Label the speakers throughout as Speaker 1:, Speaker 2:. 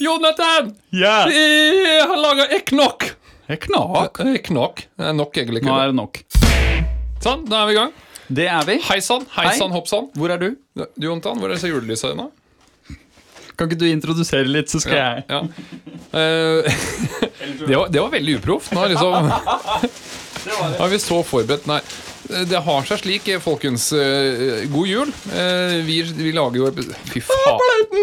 Speaker 1: Jonathan!
Speaker 2: Yeah!
Speaker 1: Jeg har laga eknok.
Speaker 2: Jeg knak.
Speaker 1: Eknok. Det er nok jeg liker.
Speaker 2: Nå er det nok.
Speaker 1: Sånn, da er vi i gang.
Speaker 2: Det er vi.
Speaker 1: Hei sann, hei
Speaker 2: Hei.
Speaker 1: sann, hopp sann.
Speaker 2: Hvor er du?
Speaker 1: Du, Jonathan, hvor er disse julelysene nå?
Speaker 2: Kan ikke du introdusere litt, så skal jeg
Speaker 1: Ja. Eh, det, var, det var veldig uproft. Nå er liksom Ja, vi så forberedt Nei. Det har seg slik, eh, folkens. eh, God jul. Eh, Vi, vi lager jo epi- Fy faen.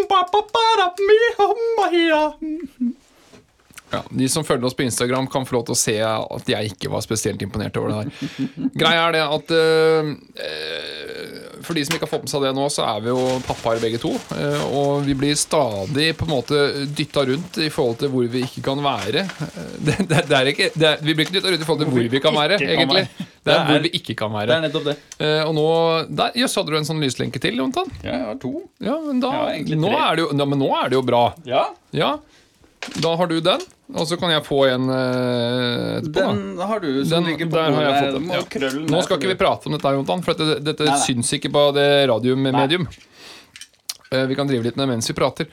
Speaker 1: Ja, de som følger oss på Instagram, kan få lov til å se at jeg ikke var spesielt imponert over det her. Greia er det at eh, eh, For de som ikke har fått med seg det nå, så er vi jo pappaer begge to. eh, og vi blir stadig på en måte dytta rundt i forhold til hvor vi ikke kan være. Eh, Det, det, det er ikke, det er, vi blir ikke dytta rundt i forhold til hvor vi kan være,
Speaker 2: ikke kan
Speaker 1: egentlig.
Speaker 2: være.
Speaker 1: Det er
Speaker 2: Det er-
Speaker 1: hvor vi ikke kan
Speaker 2: Det
Speaker 1: være.
Speaker 2: er nettopp det.
Speaker 1: Eh, og nå der, Jøss, hadde du en sånn lyslenke til, Jontan?
Speaker 2: Ja, jeg har to.
Speaker 1: Ja, men da,
Speaker 2: Ja, egentlig
Speaker 1: nå,
Speaker 2: tre.
Speaker 1: er det jo, ja, men nå er det jo bra.
Speaker 2: Ja.
Speaker 1: Ja, Da har du den, og så kan jeg få en eh, etterpå. da.
Speaker 2: Den har du som
Speaker 1: Den-
Speaker 2: ligger på
Speaker 1: der har jeg
Speaker 2: bordet.
Speaker 1: fått den,
Speaker 2: Må
Speaker 1: ja.
Speaker 2: krølle
Speaker 1: Nå
Speaker 2: ned,
Speaker 1: skal
Speaker 2: for
Speaker 1: ikke vi
Speaker 2: du-
Speaker 1: prate om dette, Jontan, for dette, dette
Speaker 2: Nei, nei.
Speaker 1: syns ikke på det radiomedium. Eh, Vi kan drive litt med det mens vi prater.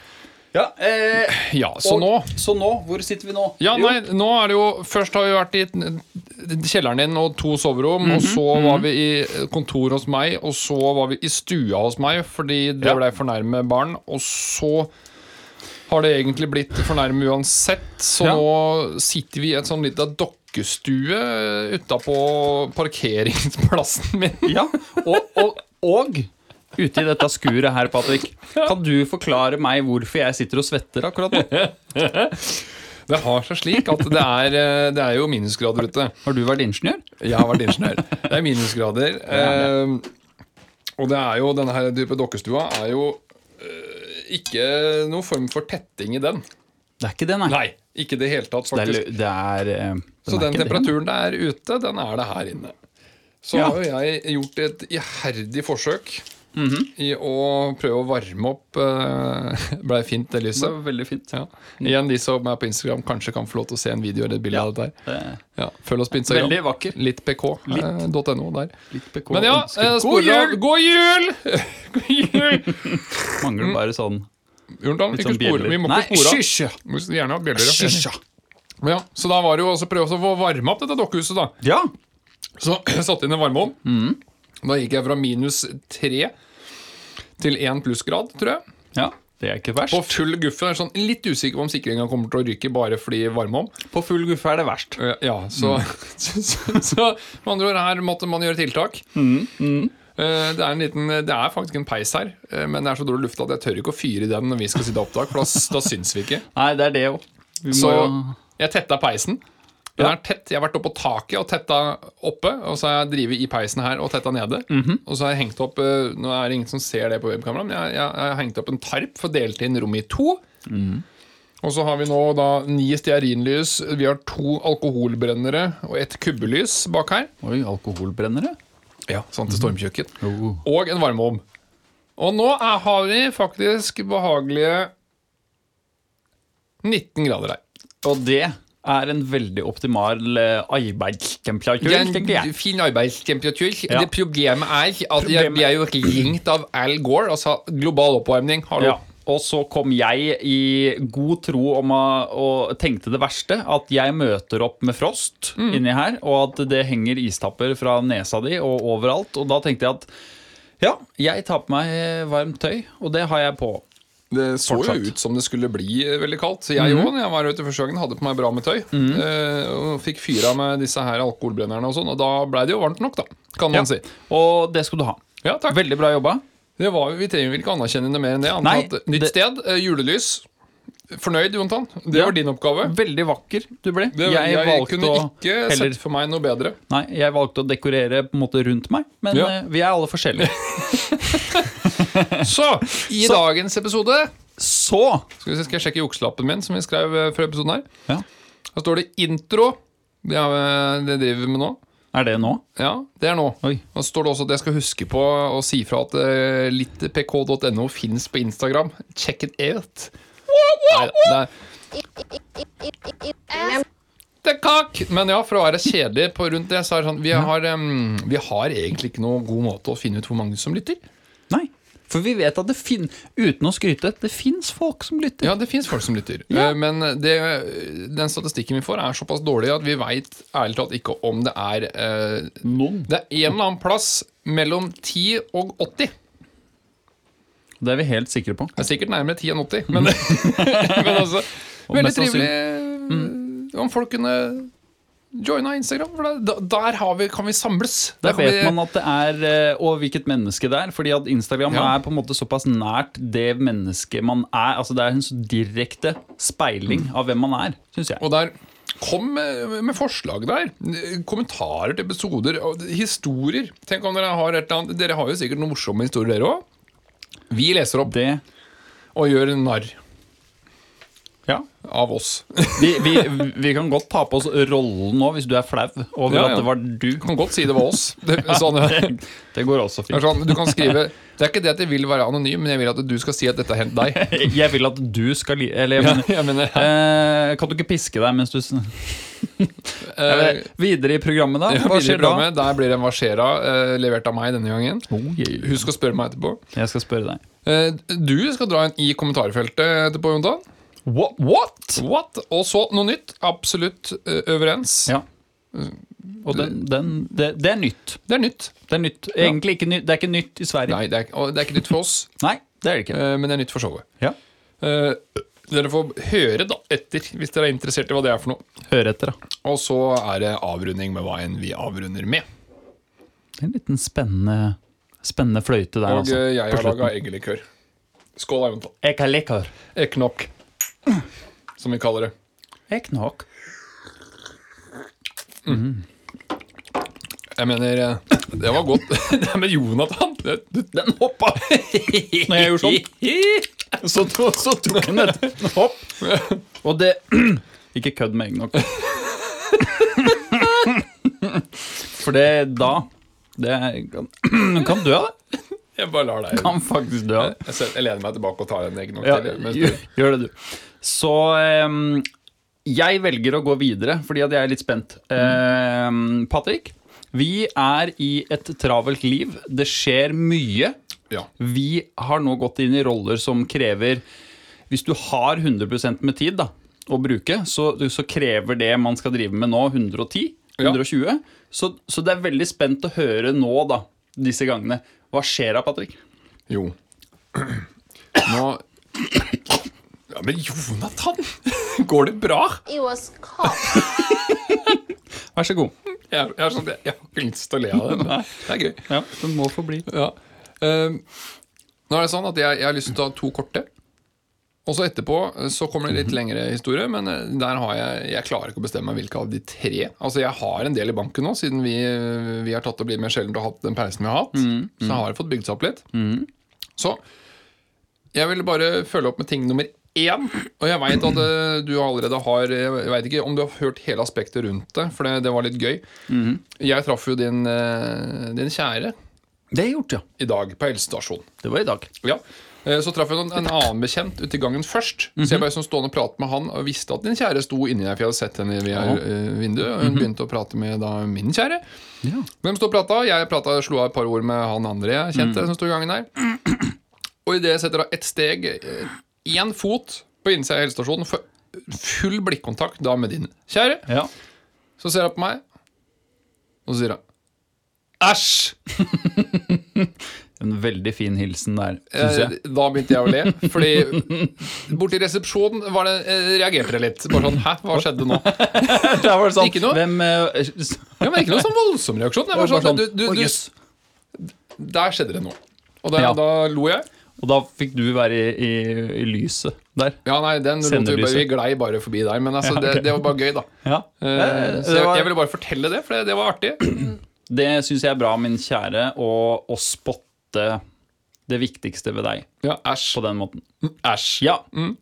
Speaker 2: Ja, eh,
Speaker 1: Ja, så
Speaker 2: og-
Speaker 1: nå
Speaker 2: Så nå? Hvor sitter vi nå?
Speaker 1: ja,
Speaker 2: Jo,
Speaker 1: nei, nå er det jo, Først har vi vært i t- kjelleren din og to soverom. Og
Speaker 2: Mhm.
Speaker 1: så var vi i kontor hos meg, og så var vi i stua hos meg fordi det
Speaker 2: Ja.
Speaker 1: blei for nærme barn. Og så har det egentlig blitt for nærme uansett, så
Speaker 2: Ja.
Speaker 1: nå sitter vi i et sånn lite dokkestue utapå parkeringsplassen min.
Speaker 2: Ja, og, og, og ute i dette skuret her, Patrick, kan du forklare meg hvorfor jeg sitter og svetter akkurat nå?
Speaker 1: Det har seg slik at det er, eh, det er jo minusgrader ute.
Speaker 2: Har du vært ingeniør?
Speaker 1: Jeg har vært ingeniør. Det er minusgrader. Eh, og det er jo, denne her type dokkestua er jo eh, ikke noen form for tetting i den.
Speaker 2: Det er ikke det, nei.
Speaker 1: Nei, ikke i det hele tatt,
Speaker 2: Det er,
Speaker 1: faktisk.
Speaker 2: lø- det er, eh,
Speaker 1: Så den
Speaker 2: er ikke det.
Speaker 1: temperaturen det er ute, den er det her inne. Så
Speaker 2: Ja.
Speaker 1: har jo jeg gjort et iherdig forsøk
Speaker 2: Mhm.
Speaker 1: i å prøve å varme opp eh, Blei fint, det
Speaker 2: Det
Speaker 1: lyset.
Speaker 2: var veldig fint.
Speaker 1: Ja. Igjen, de som er på Instagram, kanskje kan få lov til å se en video eller et bilde
Speaker 2: Ja.
Speaker 1: av dette. her.
Speaker 2: Det-
Speaker 1: Ja, følg oss på Instagram. eh,
Speaker 2: Veldig vakker.
Speaker 1: Littpk.no der.
Speaker 2: Litt bekå-
Speaker 1: Men ja,
Speaker 2: ønsker.
Speaker 1: eh,
Speaker 2: God
Speaker 1: sporer av
Speaker 2: jul!
Speaker 1: God jul! God jul!
Speaker 2: Mangler bare sånn
Speaker 1: Jordan, ikke
Speaker 2: sånn
Speaker 1: spore,
Speaker 2: bjeller.
Speaker 1: vi må
Speaker 2: Nei,
Speaker 1: ikke spore av.
Speaker 2: hysj!
Speaker 1: Må Gjerne ha bjeller. ja.
Speaker 2: Hysj, ja.
Speaker 1: Men Ja, så da var det jo også prøve også å få varme opp dette dokkehuset, da.
Speaker 2: Ja.
Speaker 1: Så jeg satte inn en varmeovn.
Speaker 2: Mm.
Speaker 1: Da gikk jeg fra minus tre til én plussgrad, tror jeg.
Speaker 2: ja. Det er ikke
Speaker 1: På
Speaker 2: verst.
Speaker 1: full guffe. Jeg er Sånn, litt usikker på om sikringa kommer til å ryke bare fordi varmeovn.
Speaker 2: På full guffe er det verst.
Speaker 1: Eh, Ja, så, så, så, så med andre ord, her måtte man gjøre tiltak. Eh, Det er, en liten, det er faktisk en peis her, eh, men det er så dårlig luft at jeg tør ikke å fyre i den når vi skal sitte i opptak, for da, s- da syns vi ikke.
Speaker 2: Nei, det er det òg. Vi må
Speaker 1: Så
Speaker 2: jo
Speaker 1: jeg tetta peisen. Den er tett, Jeg har vært oppå taket og tetta oppe, og så har jeg drevet i peisen her og tetta nede. Og så har jeg hengt opp eh, Nå er det ingen som ser det på webkamera, men jeg, jeg, jeg har hengt opp en tarp for å dele inn rommet i to. Og så har vi nå da ni stearinlys, vi har to alkoholbrennere og et kubbelys bak her.
Speaker 2: Oi, alkoholbrennere?
Speaker 1: Ja, sånn til stormkjøkken.
Speaker 2: Jo.
Speaker 1: Og en varmeovn. Og nå er, har vi faktisk behagelige 19 grader her.
Speaker 2: Og det er en veldig optimal eh, arbeidstemperatur,
Speaker 1: Det er en
Speaker 2: tenker jeg.
Speaker 1: Fin arbeidstemperatur.
Speaker 2: Ja.
Speaker 1: Det problemet er at jeg
Speaker 2: Problemet-
Speaker 1: blir jo ringt av Al Gore, altså global oppvarming. Hallo.
Speaker 2: Ja. Og så kom jeg i god tro om å, og tenkte det verste. At jeg møter opp med frost
Speaker 1: Mm.
Speaker 2: inni her, og at det henger istapper fra nesa di og overalt. Og da tenkte jeg at ja, jeg tar på meg varmt tøy, og det har jeg på.
Speaker 1: Det så jo
Speaker 2: Fortsatt. Mhm.
Speaker 1: ut som det skulle bli eh, veldig kaldt. Jeg òg, når jeg var ute første gangen, hadde på meg bra med tøy. eh, og fikk fyra med disse her alkoholbrennerne og sånn, og da blei det jo varmt nok, da. Kan man
Speaker 2: Ja.
Speaker 1: si.
Speaker 2: Og det skal du ha.
Speaker 1: Ja, takk.
Speaker 2: Veldig bra jobba.
Speaker 1: Det var, jo- vi trenger vel ikke anerkjenne det mer enn det. annet
Speaker 2: Nei,
Speaker 1: enn at nytt
Speaker 2: det-
Speaker 1: sted, eh, julelys. Fornøyd, Jontan. Det
Speaker 2: Ja.
Speaker 1: var din oppgave.
Speaker 2: Veldig vakker du ble.
Speaker 1: Det, jeg kunne ikke
Speaker 2: heller-
Speaker 1: sett for meg noe bedre.
Speaker 2: Nei, jeg valgte å dekorere på en måte rundt meg, men
Speaker 1: Ja.
Speaker 2: eh, vi er alle forskjellige.
Speaker 1: Så, i dagens episode
Speaker 2: Så
Speaker 1: Skal, vi se, skal jeg sjekke jukselappen min, som vi skrev eh, før episoden her?
Speaker 2: Ja.
Speaker 1: Da står det intro. Det, er, eh, det driver vi med nå.
Speaker 2: er det nå.
Speaker 1: Ja, det er nå.
Speaker 2: Oi.
Speaker 1: Og så står det også at jeg skal huske på å si fra at eh, littpk.no fins på Instagram. Check it out. Nei, det er det er kak! Men ja, for å være kjedelig på rundt det, så er det sånn Vi har, em, vi har egentlig ikke noen god måte å finne ut hvor mange som lytter.
Speaker 2: Nei. For vi vet at det fin uten å skryte, det fins folk som lytter.
Speaker 1: Ja, det fins folk som lytter.
Speaker 2: Ja.
Speaker 1: Eh, Men det, den statistikken vi får, er såpass dårlig at vi veit ærlig talt ikke om det er eh,
Speaker 2: Noen.
Speaker 1: Det er en eller annen plass mellom 10 og 80.
Speaker 2: Det er vi helt sikre på.
Speaker 1: Det er sikkert nærmere 10 enn 80, men, men altså
Speaker 2: Og
Speaker 1: Veldig
Speaker 2: mest
Speaker 1: trivelig eh, om folk kunne joina Instagram. For da, der har vi, kan vi samles.
Speaker 2: Der
Speaker 1: kan
Speaker 2: vet
Speaker 1: vi,
Speaker 2: man at det er eh, Og hvilket menneske det er. Fordi at Instagram
Speaker 1: Ja.
Speaker 2: er på en måte såpass nært det mennesket man er. Altså Det er en så direkte speiling av hvem man er, syns jeg.
Speaker 1: Og der Kom med, med forslag der. Kommentarer til episoder. og Historier. Tenk om Dere har et eller annet Dere har jo sikkert noen morsomme historier, dere òg. Vi leser opp
Speaker 2: det
Speaker 1: og gjør narr
Speaker 2: ja.
Speaker 1: av oss.
Speaker 2: vi, vi, vi kan godt ta på oss rollen nå, hvis du er flau over
Speaker 1: Ja, ja.
Speaker 2: at det var du.
Speaker 1: Kan godt si det var oss. Det, sånn, det
Speaker 2: Det går også
Speaker 1: er
Speaker 2: fint.
Speaker 1: sånn, du kan skrive Det er ikke det at jeg vil være anonym, men jeg vil at du skal si at dette har hendt deg.
Speaker 2: Jeg vil at du skal li... Eller jeg
Speaker 1: Ja,
Speaker 2: mener
Speaker 1: jeg mener,
Speaker 2: eh, Kan du ikke piske deg mens du s-
Speaker 1: eh,
Speaker 2: Videre i programmet, da?
Speaker 1: Hva skjer da? Med? Der blir det en Hva skjer da? eh, levert av meg denne gangen.
Speaker 2: Oh, yeah.
Speaker 1: Husk å spørre meg etterpå.
Speaker 2: Jeg skal spørre deg.
Speaker 1: Eh, du skal dra en i kommentarfeltet etterpå, Jontan.
Speaker 2: What? What?
Speaker 1: What? Og så noe nytt. Absolutt eh, overens.
Speaker 2: Ja. Og den, den, det, det er nytt.
Speaker 1: Det er nytt.
Speaker 2: Det er nytt. Egentlig ikke nytt. Det er ikke nytt i Sverige. Nei,
Speaker 1: Nei, det er, og det er ikke nytt for oss,
Speaker 2: det er det ikke.
Speaker 1: eh, men det er nytt for showet.
Speaker 2: Ja.
Speaker 1: Eh, dere får høre da etter, hvis dere er interessert i hva det er for noe.
Speaker 2: Hør etter, da.
Speaker 1: Og så er det avrunding med hva enn vi avrunder med.
Speaker 2: Det er En liten spennende, spennende fløyte der,
Speaker 1: Og
Speaker 2: altså.
Speaker 1: eh, jeg
Speaker 2: på
Speaker 1: har
Speaker 2: slutten.
Speaker 1: laga eggelikør. Skål, Jontan.
Speaker 2: Jeg kan likør.
Speaker 1: Eknok, som vi kaller det.
Speaker 2: Jeg knak.
Speaker 1: Jeg mener, eh, det var godt. Nei, men Jonathan, det, det,
Speaker 2: Den hoppa! Når jeg gjorde sånn, så, to, så tok den et hopp. Og det Ikke kødd med eggnog. For det da det kan, kan dø av det.
Speaker 1: jeg bare lar deg.
Speaker 2: Kan faktisk dø av det.
Speaker 1: Jeg, ser- jeg lener meg tilbake og tar en egg nok
Speaker 2: Ja,
Speaker 1: til. mens
Speaker 2: gjør,
Speaker 1: du-
Speaker 2: gjør det, du. Så ehm, jeg velger å gå videre, fordi at jeg er litt spent. Ehm, Patrick, vi er i et travelt liv. Det skjer mye.
Speaker 1: Ja.
Speaker 2: Vi har nå gått inn i roller som krever Hvis du har 100 med tid da, å bruke, så, så krever det man skal drive med nå, 110?
Speaker 1: Ja.
Speaker 2: 120? Så, så det er veldig spent å høre nå, da, disse gangene. Hva skjer da, Patrick?
Speaker 1: Jo. Nå Ja, men Jonathan! Går det bra?
Speaker 3: It was cold.
Speaker 2: Vær så god.
Speaker 1: Jeg, jeg, er sånn, jeg, jeg har ikke lyst til å le av det. Men det er gøy.
Speaker 2: Ja, det må få bli.
Speaker 1: Ja. Ehm, nå er det sånn at jeg, jeg har lyst til å ta to korte. Og så etterpå eh, så kommer det litt lengre historie, men eh, der har jeg Jeg klarer ikke å bestemme meg hvilke av de tre. Altså Jeg har en del i banken nå, siden vi, eh, vi har tatt og blitt mer sjeldent og hatt den pausen vi har hatt. Så jeg har fått bygd seg opp litt. Så jeg vil bare følge opp med ting nummer én. Og jeg veit at eh, du allerede har Jeg veit ikke om du har hørt hele aspektet rundt det, for det, det var litt gøy. Jeg traff jo din, eh, din kjære
Speaker 2: Det er gjort, ja.
Speaker 1: i dag på helsestasjonen.
Speaker 2: Det var i dag.
Speaker 1: Ja. Eh, Så traff jeg en, en annen bekjent ute i gangen først. Så jeg ble sånn stående og prate med han og visste at din kjære sto inni der, for jeg hadde sett henne via eh, vinduet. Og hun begynte å prate med da min kjære.
Speaker 2: Ja.
Speaker 1: Hvem sto og prata? Jeg prata, slo av et par ord med han andre jeg kjente som sto i gangen der. Og idet jeg setter da ett steg, eh, én fot på innsida av helsestasjonen, for full blikkontakt da med din kjære,
Speaker 2: Ja.
Speaker 1: så ser hun på meg, og så sier hun Æsj!
Speaker 2: En veldig fin hilsen der,
Speaker 1: Eh,
Speaker 2: syns jeg.
Speaker 1: Da begynte jeg å le. Fordi borti resepsjonen var det, eh, reagerte jeg litt. Bare sånn Hæ, hva skjedde nå?
Speaker 2: Der var det
Speaker 1: Ikke noe?
Speaker 2: Hvem eh, s-
Speaker 1: Ja, men Ikke noe sånn voldsom reaksjon. Jeg var
Speaker 2: bare
Speaker 1: sånn,
Speaker 2: sånn,
Speaker 1: du, du,
Speaker 2: «Å,
Speaker 1: du,
Speaker 2: jøss».
Speaker 1: der skjedde det noe. Og da,
Speaker 2: Ja.
Speaker 1: da lo jeg.
Speaker 2: Og da fikk du være i, i, i lyset der.
Speaker 1: Ja, nei, den lot vi, bare, vi
Speaker 2: Sendelyset.
Speaker 1: glei bare forbi der. Men altså,
Speaker 2: Ja, ok.
Speaker 1: det, det var bare gøy, da.
Speaker 2: Ja.
Speaker 1: Eh, Så
Speaker 2: det
Speaker 1: jeg,
Speaker 2: var-
Speaker 1: jeg ville bare fortelle det, for det, det var artig.
Speaker 2: Det syns jeg er bra, min kjære, å, å spotte det viktigste ved deg
Speaker 1: Ja, Æsj.
Speaker 2: på den måten.
Speaker 1: Æsj.
Speaker 2: Ja.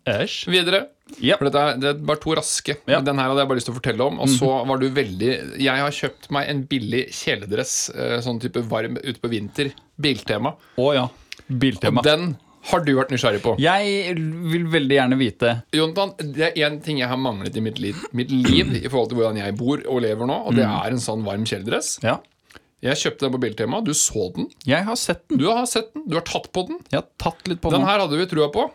Speaker 2: Æsj.
Speaker 1: Videre. Mm.
Speaker 2: Ja.
Speaker 1: For dette er, det er bare to raske.
Speaker 2: Ja. Mhm.
Speaker 1: Den her hadde jeg bare lyst til å fortelle om. Og så var du veldig Jeg har kjøpt meg en billig kjeledress, eh, sånn type varm ute på vinter. Biltema.
Speaker 2: Å ja.
Speaker 1: Og
Speaker 2: Biltema.
Speaker 1: den har du vært nysgjerrig på.
Speaker 2: Jeg vil veldig gjerne vite
Speaker 1: Jonathan, det er én ting jeg har manglet i
Speaker 2: Mm.
Speaker 1: mitt liv, mitt liv i forhold til hvordan jeg bor og lever nå, og det er en sånn varm kjeledress.
Speaker 2: Ja.
Speaker 1: Jeg kjøpte den på Biltema. Du så den.
Speaker 2: Jeg har sett den.
Speaker 1: Du har sett den. Du har tatt på den.
Speaker 2: Jeg har tatt litt på Mhm.
Speaker 1: Den
Speaker 2: den.
Speaker 1: her hadde vi trua på.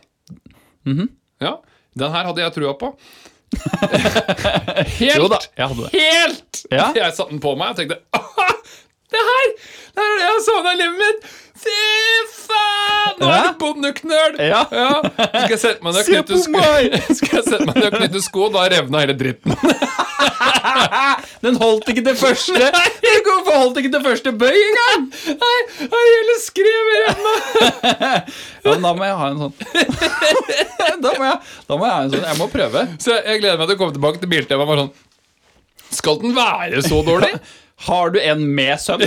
Speaker 1: Ja. Den her hadde jeg trua på. Helt!
Speaker 2: Jo da, jeg hadde det.
Speaker 1: Helt!
Speaker 2: Ja.
Speaker 1: Jeg satte den på meg og tenkte «Aha, Det her det her er det jeg har savna i livet mitt! Fy faen! Nå er
Speaker 2: Ja.
Speaker 1: det bondeknøl!
Speaker 2: Ja.
Speaker 1: Skal jeg sette meg ned og
Speaker 2: Se
Speaker 1: knytte
Speaker 2: på
Speaker 1: sko,
Speaker 2: meg!
Speaker 1: Skal jeg sette meg ned og knytte sko da revna hele dritten.
Speaker 2: Den holdt ikke til første Den holdt ikke til første bøy engang!
Speaker 1: Nei, nei, hele skrev i revna.
Speaker 2: Ja, men da må jeg ha en sånn. da, må jeg, da må jeg ha en sånn. Jeg må prøve.
Speaker 1: Så jeg, jeg gleder meg til å komme tilbake til Biltema og bare sånn Skal den være så dårlig?
Speaker 2: Har du en med søm?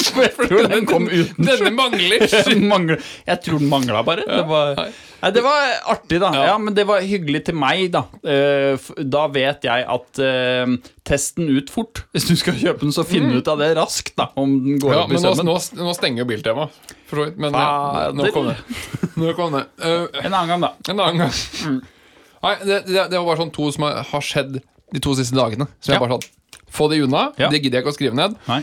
Speaker 2: For jeg tror den kom uten.
Speaker 1: Denne mangler.
Speaker 2: Den mangler- Jeg tror den mangla bare. Det var,
Speaker 1: nei.
Speaker 2: nei, det var artig, da.
Speaker 1: Ja.
Speaker 2: Ja, Men det var hyggelig til meg, da. Eh, f- Da vet jeg at eh, test den ut fort. Hvis du skal kjøpe den, så finn ut av det raskt, da. Om den
Speaker 1: Mm.
Speaker 2: går
Speaker 1: Ja,
Speaker 2: opp i
Speaker 1: men nå,
Speaker 2: sømmen.
Speaker 1: nå, nå stenger jo Biltema, for så vidt. Men ja, nå
Speaker 2: Fader.
Speaker 1: kom det. Nå kom det. Eh,
Speaker 2: En annen gang, da.
Speaker 1: en annen gang.
Speaker 2: Mm.
Speaker 1: Nei, det, det, det var bare sånn to som har- har skjedd de to siste dagene. Som
Speaker 2: Ja.
Speaker 1: jeg bare sånn Få de unna.
Speaker 2: Ja.
Speaker 1: Det gidder jeg ikke å skrive ned.
Speaker 2: Nei.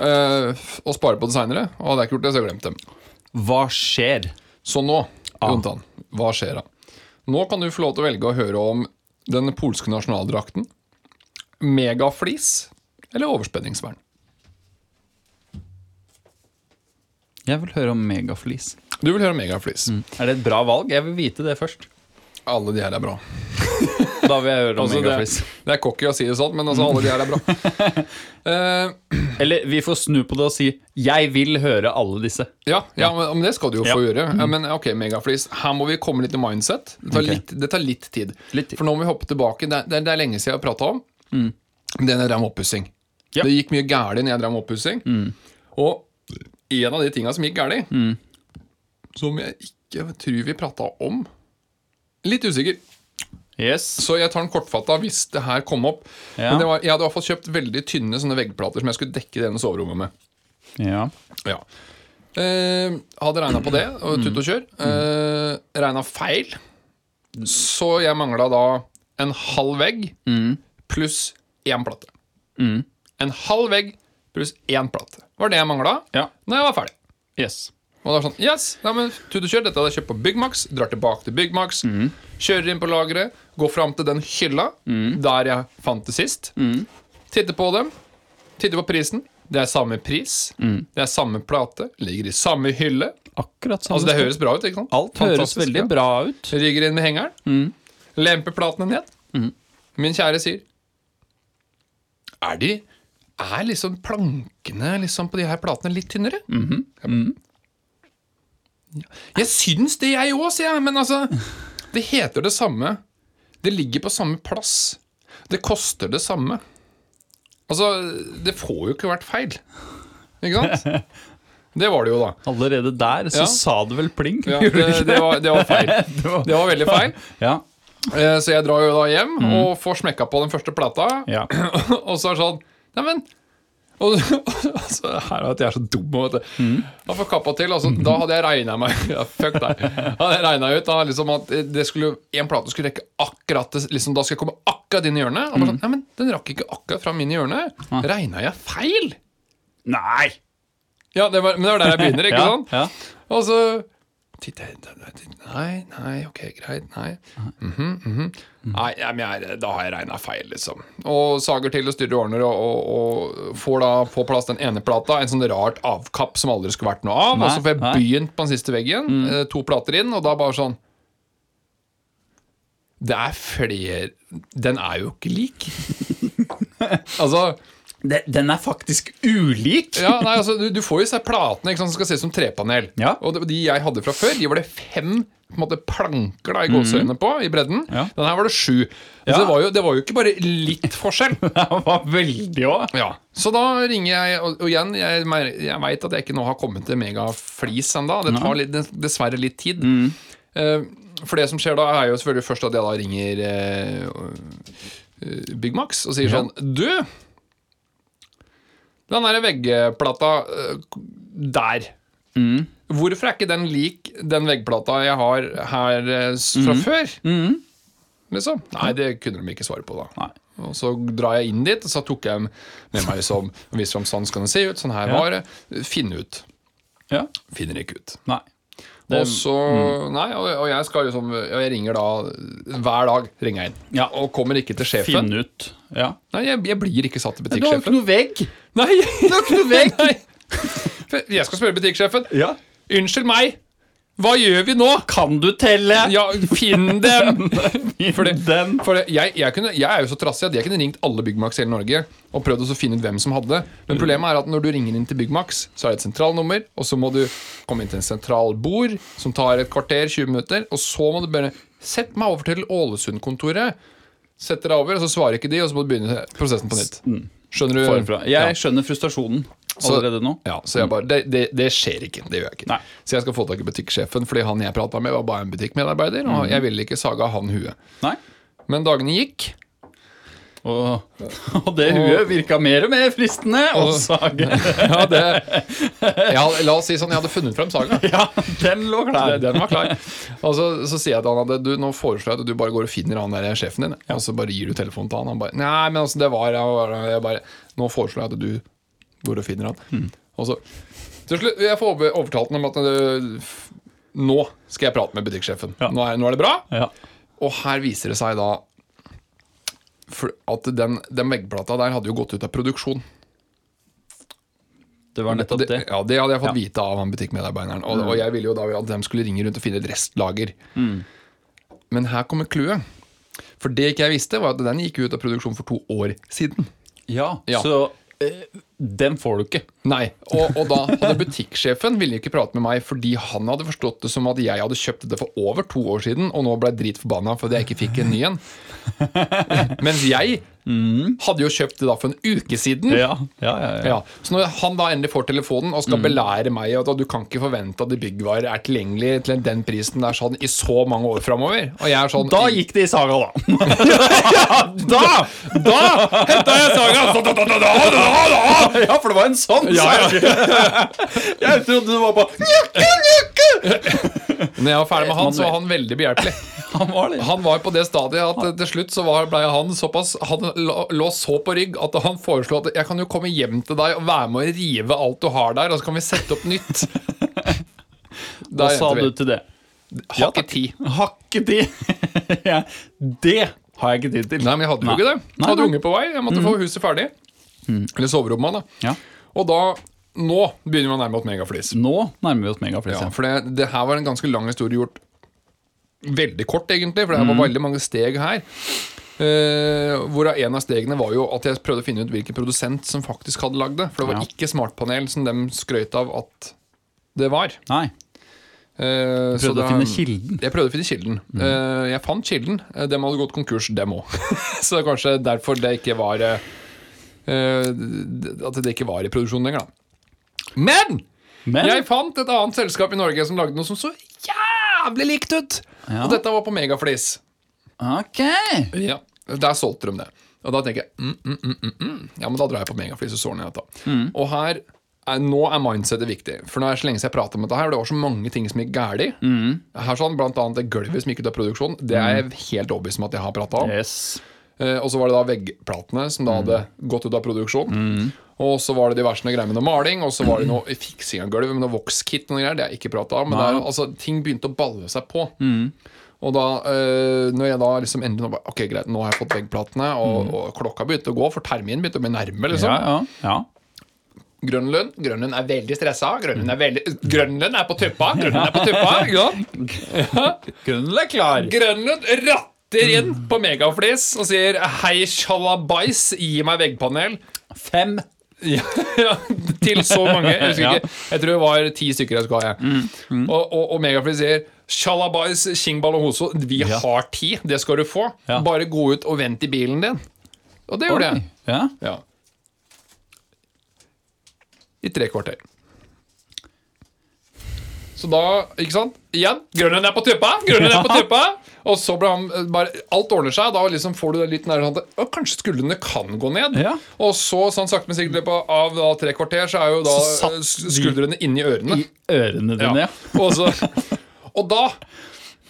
Speaker 1: eh, f- og spare på det seinere. Og hadde jeg ikke gjort det, så hadde jeg glemt dem.
Speaker 2: Hva skjer?
Speaker 1: Så nå, Jontan, hva skjer da? Nå kan du få lov til å velge å høre om den polske nasjonaldrakten, megaflis eller overspenningsvern.
Speaker 2: Jeg vil høre om megaflis.
Speaker 1: Du vil høre megaflis.
Speaker 2: Er det et bra valg? Jeg vil vite det først.
Speaker 1: Alle de her er bra.
Speaker 2: Da vil jeg høre om
Speaker 1: Altså,
Speaker 2: megaflis.
Speaker 1: det, det er cocky å si det sånn, men altså, alle de her er bra. Eh,
Speaker 2: Eller vi får snu på det og si 'jeg vil høre alle disse'.
Speaker 1: ja, ja, men, men det skal du jo få
Speaker 2: Ja. Mm.
Speaker 1: gjøre. Eh, Men ok, megaflis. Her må vi komme litt til mindset. Det tar,
Speaker 2: Ok.
Speaker 1: litt, det tar litt tid.
Speaker 2: Litt tid. Mm.
Speaker 1: For nå må vi hoppe tilbake. Det, er- det, er- det er lenge siden jeg har prata om. Den jeg drev med oppussing.
Speaker 2: Ja. Mm.
Speaker 1: Det gikk mye gærent når jeg drev med oppussing. Og en av de tinga som gikk gærent, som jeg ikke tror vi prata om Litt usikker,
Speaker 2: Yes.
Speaker 1: så jeg tar den kortfatta hvis det her kom opp.
Speaker 2: Ja.
Speaker 1: Men det var, jeg hadde i hvert fall kjøpt veldig tynne sånne veggplater som jeg skulle dekke det ene soverommet med.
Speaker 2: Ja.
Speaker 1: Ja. Eh, hadde regna på det, og tut og kjør. Eh, regna feil. Så jeg mangla da en halv vegg pluss én plate. En halv vegg pluss én plate. Var det jeg mangla
Speaker 2: Ja.
Speaker 1: når jeg var ferdig.
Speaker 2: Yes.
Speaker 1: Og da var det sånn, yes, nei, men tut og kjør, Dette hadde jeg kjøpt på Byggmax. Drar tilbake til Byggmax.
Speaker 2: Mm.
Speaker 1: Kjører inn på lageret. Går fram til den hylla
Speaker 2: Mm.
Speaker 1: der jeg fant det sist. Titter på dem. Titter på prisen. Det er samme pris.
Speaker 2: Mm.
Speaker 1: Det er samme plate. Ligger i samme hylle.
Speaker 2: Akkurat samme
Speaker 1: Altså Det
Speaker 2: sted.
Speaker 1: høres bra ut. ikke sant?
Speaker 2: Alt høres
Speaker 1: Fantastisk
Speaker 2: veldig bra ut.
Speaker 1: Rygger inn med hengeren. Lemper platene ned. Min kjære sier Er de Er liksom plankene liksom på de her platene litt tynnere? Jeg bare, «Ja, Jeg syns det, jeg òg, sier jeg. Men altså Det heter det samme. Det ligger på samme plass. Det koster det samme. Altså, det får jo ikke vært feil. Ikke sant? Det var det jo, da.
Speaker 2: Allerede der så
Speaker 1: Ja.
Speaker 2: sa det vel pling.
Speaker 1: Ja, det, det, var, det var feil.
Speaker 2: Det var-
Speaker 1: Det var veldig feil.
Speaker 2: Ja.
Speaker 1: Eh, Så jeg drar jo da hjem og får smekka på den første plata.
Speaker 2: Mhm. Ja.
Speaker 1: og så er det sånn Neimen og, altså, Her er at jeg er så dum. Vet du.
Speaker 2: Mhm.
Speaker 1: Da får kappa til. Altså, da hadde jeg regna meg ja, Fuck deg. Hadde jeg regnet ut da, liksom, at det skulle, en plate skulle rekke akkurat det- liksom, Da skal jeg komme akkurat inn i hjørnet. Og bare
Speaker 2: Mhm.
Speaker 1: sånn, Neimen, den rakk ikke akkurat fram inn i hjørnet.
Speaker 2: Ah.
Speaker 1: Regna jeg feil?
Speaker 2: Nei!
Speaker 1: Ja, det var, Men det var der jeg begynner, ikke sånn.
Speaker 2: Ja,
Speaker 1: sant?
Speaker 2: ja.
Speaker 1: Og så titter jeg inn der, titter- Nei, nei, ok, greit, nei. Mhm, mhm. Nei, ja, men jeg, da har jeg regna feil, liksom. Og sager til og styrer og ordner, og, og, og får da på plass den ene plata. En sånn rart avkapp som aldri skulle vært noe av.
Speaker 2: Nei,
Speaker 1: og så får jeg
Speaker 2: nei. Mm.
Speaker 1: begynt på den siste veggen, eh, to plater inn, og da bare sånn Det er flere Den er jo ikke lik. altså
Speaker 2: Det- Den er faktisk ulik!
Speaker 1: ja, nei, altså, du, du får jo disse platene ikke sant, som skal ses som trepanel.
Speaker 2: Ja.
Speaker 1: Og de- de jeg hadde fra før, de var det fem på en måte, planker da, i gåseøynene på i bredden.
Speaker 2: Mhm. Ja.
Speaker 1: Den her var det sju. Altså,
Speaker 2: Ja.
Speaker 1: det, var jo, det var jo ikke bare litt forskjell.
Speaker 2: Det var veldig òg.
Speaker 1: Ja, Så da ringer jeg, og, og igjen, jeg, mer- jeg veit at jeg ikke nå har kommet til megaflis ennå. Det tar litt, dessverre litt tid. Eh, for det som skjer da, er jo selvfølgelig først at jeg da ringer eh, eh, Byggmax og sier
Speaker 2: Ja.
Speaker 1: sånn Du! Den derre veggplata eh, der. Hvorfor er ikke den lik den veggplata jeg har her eh, s- fra før? Liksom. Nei, det kunne de ikke svare på, da.
Speaker 2: Nei.
Speaker 1: Og så drar jeg inn dit, og så tok jeg en med meg som viser om sånn skal den se ut. Sånn her var det. Finn ut.
Speaker 2: Ja.
Speaker 1: Finner ikke ut.
Speaker 2: Nei. Det,
Speaker 1: og
Speaker 2: mm.
Speaker 1: så, nei, og, og jeg skal liksom Og jeg ringer da hver dag. ringer jeg inn
Speaker 2: Ja.
Speaker 1: Og kommer ikke til sjefen.
Speaker 2: finn ut. Ja.
Speaker 1: Nei, jeg, jeg blir ikke satt til
Speaker 2: Du har jo ikke
Speaker 1: butikksjefen.
Speaker 2: noe vegg!
Speaker 1: Nei,
Speaker 2: Du har ikke noe vegg!
Speaker 1: nei. For Jeg skal spørre butikksjefen.
Speaker 2: Ja.
Speaker 1: Unnskyld meg, hva gjør vi nå?
Speaker 2: Kan du telle?
Speaker 1: Ja, finn dem!
Speaker 2: for det, den.
Speaker 1: For det, jeg, jeg, kunne, jeg er jo så trassig at jeg kunne ringt alle Byggmax i hele Norge og prøvd også å finne ut hvem som hadde det. Men
Speaker 2: Mm.
Speaker 1: problemet er at når du ringer inn til Byggmax, så er det et sentralnummer, og så må du komme inn til en sentralbord som tar et kvarter, 20 minutter, og så må du bare Sett meg over til Ålesund-kontoret. Sett dere over, og så svarer ikke de, og så må du begynne prosessen på nytt. Skjønner du?
Speaker 2: mm. Forfra. Jeg skjønner frustrasjonen allerede nå.
Speaker 1: Ja, så jeg bare, det, det, det skjer ikke. Det gjør jeg ikke.
Speaker 2: Nei.
Speaker 1: Så jeg skal få tak i butikksjefen, fordi han jeg prata med, var bare en butikkmedarbeider.
Speaker 2: Mm.
Speaker 1: Og jeg ville ikke saga av han huet.
Speaker 2: Nei.
Speaker 1: Men dagene gikk,
Speaker 2: Og, og det huet virka mer og mer fristende å
Speaker 1: Og-
Speaker 2: sage.
Speaker 1: Ja, det, ja, la oss si sånn, jeg hadde funnet frem saga.
Speaker 2: Ja, den lå klar.
Speaker 1: Den var klar. Og så, så sier jeg til han at du, nå foreslår jeg at du bare går og finner han der sjefen din. Og så bare gir du telefonen til han. Han bare Nei, men altså, det var jeg bare, jeg bare, Nå foreslår jeg at du går og finner han. Og så til slutt, Jeg får over- overtalt ham om at øh, f- nå skal jeg prate med butikksjefen.
Speaker 2: Ja.
Speaker 1: Nå, er, nå er det bra.
Speaker 2: Ja.
Speaker 1: Og her viser det seg da for at den, den veggplata der hadde jo gått ut av produksjon.
Speaker 2: Det var nettopp det.
Speaker 1: Ja, det hadde jeg fått
Speaker 2: Ja. Mm.
Speaker 1: vite av han butikkmedarbeideren. Og, og jeg ville jo da at de skulle ringe rundt og finne et restlager. Men her kommer clouet. For det ikke jeg visste, var at den gikk ut av produksjon for to år siden.
Speaker 2: Ja,
Speaker 1: Ja.
Speaker 2: så eh, den får du ikke.
Speaker 1: Nei, og, og da hadde butikksjefen ville ikke prate med meg fordi han hadde forstått det som at jeg hadde kjøpt det for over to år siden, og nå ble jeg dritforbanna fordi jeg ikke fikk en ny en. Mens jeg
Speaker 2: Mm.
Speaker 1: hadde jo kjøpt det da for en uke siden.
Speaker 2: Ja, ja, ja, ja. Mm.
Speaker 1: Ja, Så når han da endelig får telefonen og skal belære meg at du kan ikke forvente at byggvarer er tilgjengelig til den prisen der sånn i så mange år framover Og jeg er sånn
Speaker 2: Da gikk det i saga, da.
Speaker 1: Da! Da henta jeg saga!
Speaker 2: ja, for det var en sånn
Speaker 1: Ja,
Speaker 2: sage. Jeg trodde det var bare
Speaker 1: Når jeg var ferdig med han, så var han veldig behjelpelig.
Speaker 2: Han var det.
Speaker 1: Han var på det stadiet at eh, til slutt så var, ble han såpass Han lå lå så på rygg at han foreslo at jeg kan jo komme hjem til deg og være med å rive alt du har der, og så kan vi sette opp nytt.
Speaker 2: Hva
Speaker 1: Der
Speaker 2: sa
Speaker 1: endte
Speaker 2: du
Speaker 1: vi.
Speaker 2: til det?
Speaker 1: Har ikke tid.
Speaker 2: Har ikke tid. Ja, det har jeg ikke tid til.
Speaker 1: Nei, men jeg hadde jo
Speaker 2: Nei.
Speaker 1: ikke det. Jeg hadde
Speaker 2: Nei, nei. Mm-hmm. Mm.
Speaker 1: unge på vei. Jeg måtte få huset ferdig. Eller soverommet, da.
Speaker 2: Ja. Mm.
Speaker 1: Og da Nå begynner vi å nærme oss megaflis.
Speaker 2: Nå nærmer vi oss megaflis.
Speaker 1: Ja,
Speaker 2: Ja.
Speaker 1: for det, det her var en ganske lang historie gjort veldig kort, egentlig. For det her
Speaker 2: Mm.
Speaker 1: var veldig mange steg her. Eh, hvorav en av stegene var jo at jeg prøvde å finne ut hvilken produsent som faktisk hadde lagd det. For det var
Speaker 2: Ja.
Speaker 1: ikke smartpanel som dem skrøt av at det var.
Speaker 2: Nei.
Speaker 1: Eh, så
Speaker 2: Prøvde
Speaker 1: det-
Speaker 2: å finne kilden. Mm.
Speaker 1: Jeg prøvde å finne kilden. Eh, jeg fant kilden. Eh, Dem hadde gått konkurs, dem òg. så det er kanskje derfor det ikke var eh, eh, At det ikke var i produksjon lenger, da. Men
Speaker 2: Men
Speaker 1: jeg fant et annet selskap i Norge som lagde noe som så jævlig likt ut!
Speaker 2: Ja.
Speaker 1: Og dette var på Megaflis.
Speaker 2: Ok.
Speaker 1: Ja, Der solgte de det. Og da tenker jeg mm, mm, mm, mm, mm. Ja, men da drar jeg på Megaflis og så ordner jeg dette. Og her er, nå er mindsetet viktig. For nå er det så lenge siden jeg pratet om dette her, og det var så mange ting som gikk galt. Her sånn, blant annet det gulvet som gikk ut av produksjon. Det er jeg helt overbevist om at jeg har prata om.
Speaker 2: Yes.
Speaker 1: Eh, og så var det da veggplatene som
Speaker 2: Mm.
Speaker 1: da hadde gått ut av produksjon. Og så var det diverse noe greier med noe maling, og så var det noe fiksing av gulvet med noe vokskit. og noe greier, Det har jeg ikke prata om. Men det er, altså, ting begynte å balle seg på.
Speaker 2: Mm.
Speaker 1: Og da, eh, når jeg da liksom endelig nå bare, Ok, greit, nå har jeg fått veggplatene, og, og klokka begynte å gå, for terminen begynte å bli nærme. liksom
Speaker 2: Mm. Ja, ja, ja.
Speaker 1: Grønlund Grønlund er veldig stressa. Grønlund
Speaker 2: Mm.
Speaker 1: er, veldig, Grønlund er på tuppa! Grønlund er på tuppa! ikke sant?
Speaker 2: Grunnen er klar.
Speaker 1: Grønlund ratter inn
Speaker 2: Mm.
Speaker 1: på megaflis og sier 'hei, sjalabais, gi meg veggpanel'.
Speaker 2: Fem.
Speaker 1: Ja, ja, til så mange. Jeg, husker ikke, jeg tror det var ti stykker jeg skulle ha. Jeg. Og, og, og megaflis sier 'sjalabais, Kingball og Hoso, vi har ti, det skal du få'.
Speaker 2: Ja.
Speaker 1: Bare gå ut og vent i bilen din. Og det gjorde jeg.
Speaker 2: Ja.
Speaker 1: Ja. I tre kvarter. Så da, ikke sant? Igjen, grønnen er på tuppa! Grønnen er på tuppa! Og så ble han eh, bare Alt ordner seg. Da liksom får du det litt nærmere sånn at «Å, Kanskje skuldrene kan gå ned.
Speaker 2: Ja.
Speaker 1: Og så, sånn sakte, men sikkert, i løpet av da, tre kvarter, så er jo da
Speaker 2: Så satt
Speaker 1: eh, skuldrene inni ørene.
Speaker 2: Ørene dine,
Speaker 1: Ja.
Speaker 2: ja.
Speaker 1: Og, så, og da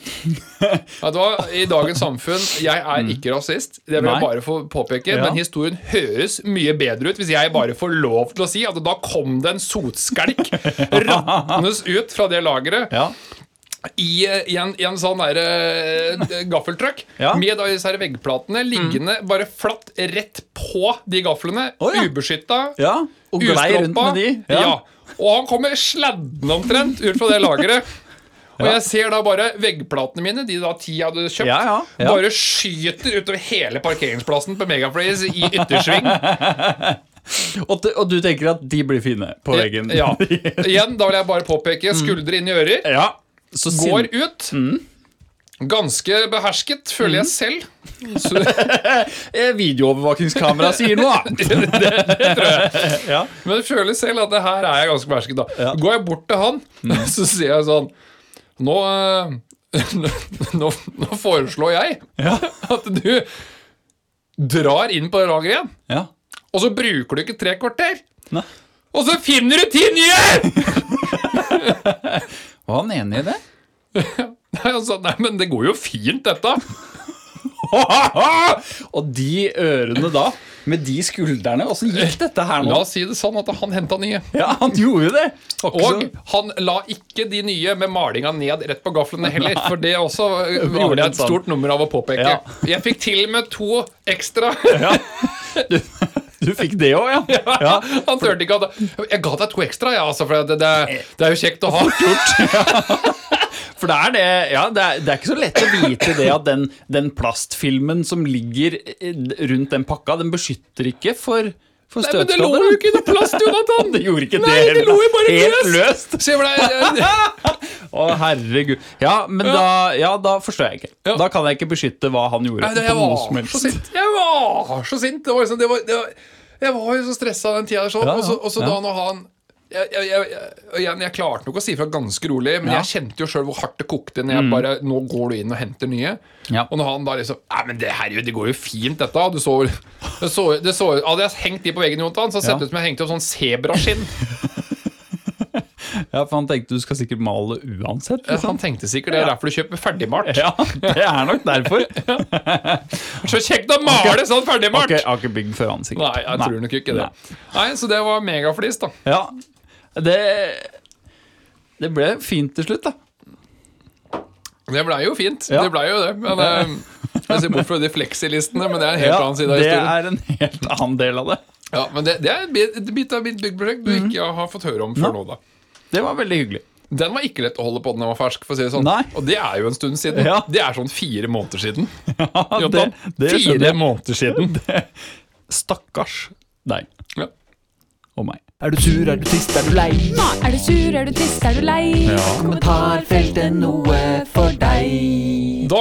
Speaker 1: Vet du hva, I dagens samfunn Jeg er ikke rasist, det vil
Speaker 2: Mm. Nei.
Speaker 1: jeg bare få påpeke.
Speaker 2: Ja.
Speaker 1: Men historien høres mye bedre ut hvis jeg bare får lov til å si at da kom det en sotskjelk ratnes ut fra det lageret
Speaker 2: Ja.
Speaker 1: i, eh, i, en, i en sånn der, eh, gaffeltruck
Speaker 2: Ja. Mm.
Speaker 1: med da disse her veggplatene liggende bare flatt rett på de gaflene.
Speaker 2: Å, ja.
Speaker 1: Ubeskytta.
Speaker 2: ja. Og glei rundt
Speaker 1: Ustroppa.
Speaker 2: med de.
Speaker 1: Ja. Og han kommer sladdende omtrent ut fra det lageret. Og jeg ser da bare veggplatene mine, de da ti jeg hadde kjøpt,
Speaker 2: Ja, ja, ja.
Speaker 1: bare skyter utover hele parkeringsplassen på Megafreeze i yttersving.
Speaker 2: Og, du- og du tenker at de blir fine på veggen.
Speaker 1: Eh, Ja. Igjen, da vil jeg bare påpeke skuldre inn i ører.
Speaker 2: ja. Så
Speaker 1: Går
Speaker 2: sin...
Speaker 1: ut.
Speaker 2: Mm.
Speaker 1: Ganske behersket, føler jeg selv. Så,
Speaker 2: Eh, Videoovervåkingskamera sier noe annet.
Speaker 1: men jeg føler selv at det her er jeg ganske behersket, da. Går jeg bort til han, så sier jeg sånn Nå, eh, nå, nå foreslår jeg
Speaker 2: Ja.
Speaker 1: at du drar inn på det lageret igjen,
Speaker 2: Ja.
Speaker 1: og så bruker du ikke tre kvarter.
Speaker 2: Nei.
Speaker 1: Og så finner du ti nye!
Speaker 2: Var han enig i det?
Speaker 1: Nei, altså, nei, men det går jo fint, dette.
Speaker 2: og de ørene da, med de skuldrene, åssen gikk dette her
Speaker 1: La
Speaker 2: nå?
Speaker 1: oss si det sånn at han henta nye.
Speaker 2: Ja, han gjorde jo det! Var ikke
Speaker 1: Og
Speaker 2: så-
Speaker 1: han la ikke de nye med malinga ned rett på gaflene heller. For det også eh,
Speaker 2: var
Speaker 1: gjorde jeg
Speaker 2: litt
Speaker 1: et
Speaker 2: sånn.
Speaker 1: stort nummer av å påpeke.
Speaker 2: Ja.
Speaker 1: Jeg fikk til og med to ekstra.
Speaker 2: Du, du fikk det òg, ja. ja.
Speaker 1: Han turte ikke at Jeg ga deg to ekstra, ja, altså, for det, det,
Speaker 2: Eh,
Speaker 1: det er jo kjekt å ha.
Speaker 2: For det er det Ja, det er, det er ikke så lett å vite det at den, den plastfilmen som ligger eh, rundt den pakka, den beskytter ikke for, for
Speaker 1: Nei, men det lå
Speaker 2: støtskader.
Speaker 1: jo ikke noe plast, Jonathan!
Speaker 2: Det gjorde ikke
Speaker 1: Nei,
Speaker 2: det
Speaker 1: det lå jo bare
Speaker 2: Helt løst.
Speaker 1: Se hvor det er
Speaker 2: Å, herregud. Ja, men da, ja, da forstår jeg ikke.
Speaker 1: Ja.
Speaker 2: Da kan jeg ikke beskytte hva han gjorde.
Speaker 1: Nei, det, jeg
Speaker 2: på noe som
Speaker 1: var
Speaker 2: helst.
Speaker 1: så sint. Jeg var så sint. Det var liksom, det var, det var, jeg var jo så stressa den tida der sånn.
Speaker 2: Ja, ja,
Speaker 1: Og så, og så
Speaker 2: ja.
Speaker 1: da når han jeg, jeg, jeg, jeg, og igjen, jeg klarte nok å si fra ganske rolig, men
Speaker 2: Ja. Mm.
Speaker 1: jeg kjente jo sjøl hvor hardt det kokte når jeg bare Nå går du inn og henter nye.
Speaker 2: Ja.
Speaker 1: Og når han da liksom Nei, men det herregud, det går jo fint, dette. Du så, det så, det så Hadde jeg hengt de på veggen, Jonathan, så hadde det
Speaker 2: Ja.
Speaker 1: sett ut som jeg hengte opp sånn sebraskinn.
Speaker 2: Ja, for han tenkte du skal sikkert male uansett. Liksom.
Speaker 1: Han tenkte sikkert det er derfor du kjøper ferdigmalt.
Speaker 2: Ja, det er nok derfor.
Speaker 1: Så kjekt å male sånn ferdigmalt!
Speaker 2: Ok, jeg har ikke bygd for ansiktet.
Speaker 1: Nei, jeg tror nok ikke det.
Speaker 2: Nei.
Speaker 1: Nei, Så det var megaflis, da.
Speaker 2: Ja, det, det ble fint til slutt, da.
Speaker 1: Det blei jo fint.
Speaker 2: Ja.
Speaker 1: Det blei jo det. Men eh, jeg ser bort fra de flexilistene, men det er en helt annen side av
Speaker 2: det
Speaker 1: historien.
Speaker 2: er en helt annen del av det.
Speaker 1: Ja, men det, det er en bit- en bit av mitt byggprosjekt
Speaker 2: Mhm.
Speaker 1: du ikke har fått høre om før nå, da.
Speaker 2: Det var veldig hyggelig.
Speaker 1: Den var ikke lett å holde på da den var fersk, for å si det sånn.
Speaker 2: Nei.
Speaker 1: Og det er jo en stund siden.
Speaker 2: Ja.
Speaker 1: Det er sånn fire måneder siden.
Speaker 2: Ja, det,
Speaker 1: Jonathan,
Speaker 2: det skjønner
Speaker 1: fire
Speaker 2: jeg.
Speaker 1: måneder siden.
Speaker 2: Stakkars deg
Speaker 1: Ja.
Speaker 2: og meg.
Speaker 3: Er du sur, er du trist, er du lei?
Speaker 4: Er du sur, er du trist, er du lei?
Speaker 3: Har feltet noe for deg?
Speaker 1: Da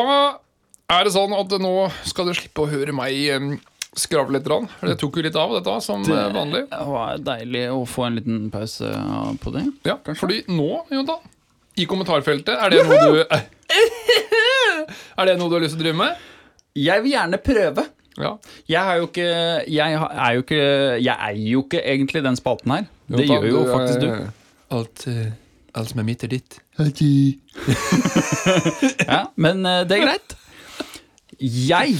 Speaker 1: er det sånn at nå skal du slippe å høre meg eh, skravle litt. grann. Det tok jo litt av, dette, som eh, vanlig.
Speaker 2: Det var deilig å få en liten pause eh, på det.
Speaker 1: Ja, fordi nå, Jonathan, i kommentarfeltet, er det noe du Er det noe du har lyst til å drive med?
Speaker 2: Jeg vil gjerne prøve.
Speaker 1: Ja.
Speaker 2: Jeg er jo ikke Jeg, har- er jo ikke, jeg eier jo ikke egentlig den spalten her. Det gjør jo faktisk du.
Speaker 1: Alt, som er mitt, er ditt.
Speaker 2: Ja, men eh, det er greit. Jeg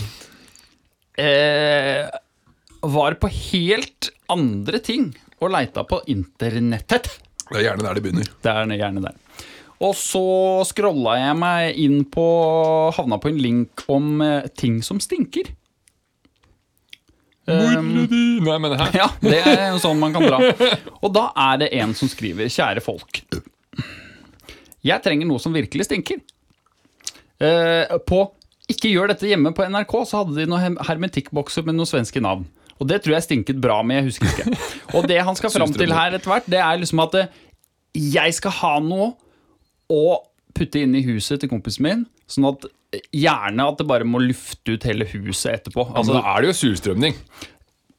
Speaker 2: eh, var på helt andre ting og leita på internettet.
Speaker 1: Det er gjerne der det begynner.
Speaker 2: Det er gjerne der. Og så scrolla jeg meg inn på Havna på en link om eh, ting som stinker.
Speaker 1: Nei, men her
Speaker 2: Um, Ja, det er jo sånn man kan dra. Og da er det en som skriver, kjære folk. Jeg trenger noe som virkelig stinker. Eh, på Ikke gjør dette hjemme på NRK, så hadde de noen hem- hermetikkbokser med noen svenske navn. Og det tror jeg stinket bra med, jeg husker ikke. Og det han skal fram til her etter hvert, det er liksom at eh, jeg skal ha noe å putte inn i huset til kompisen min, sånn at eh, gjerne at det bare må lufte ut hele huset etterpå.
Speaker 1: Altså, da er det jo surstrømning.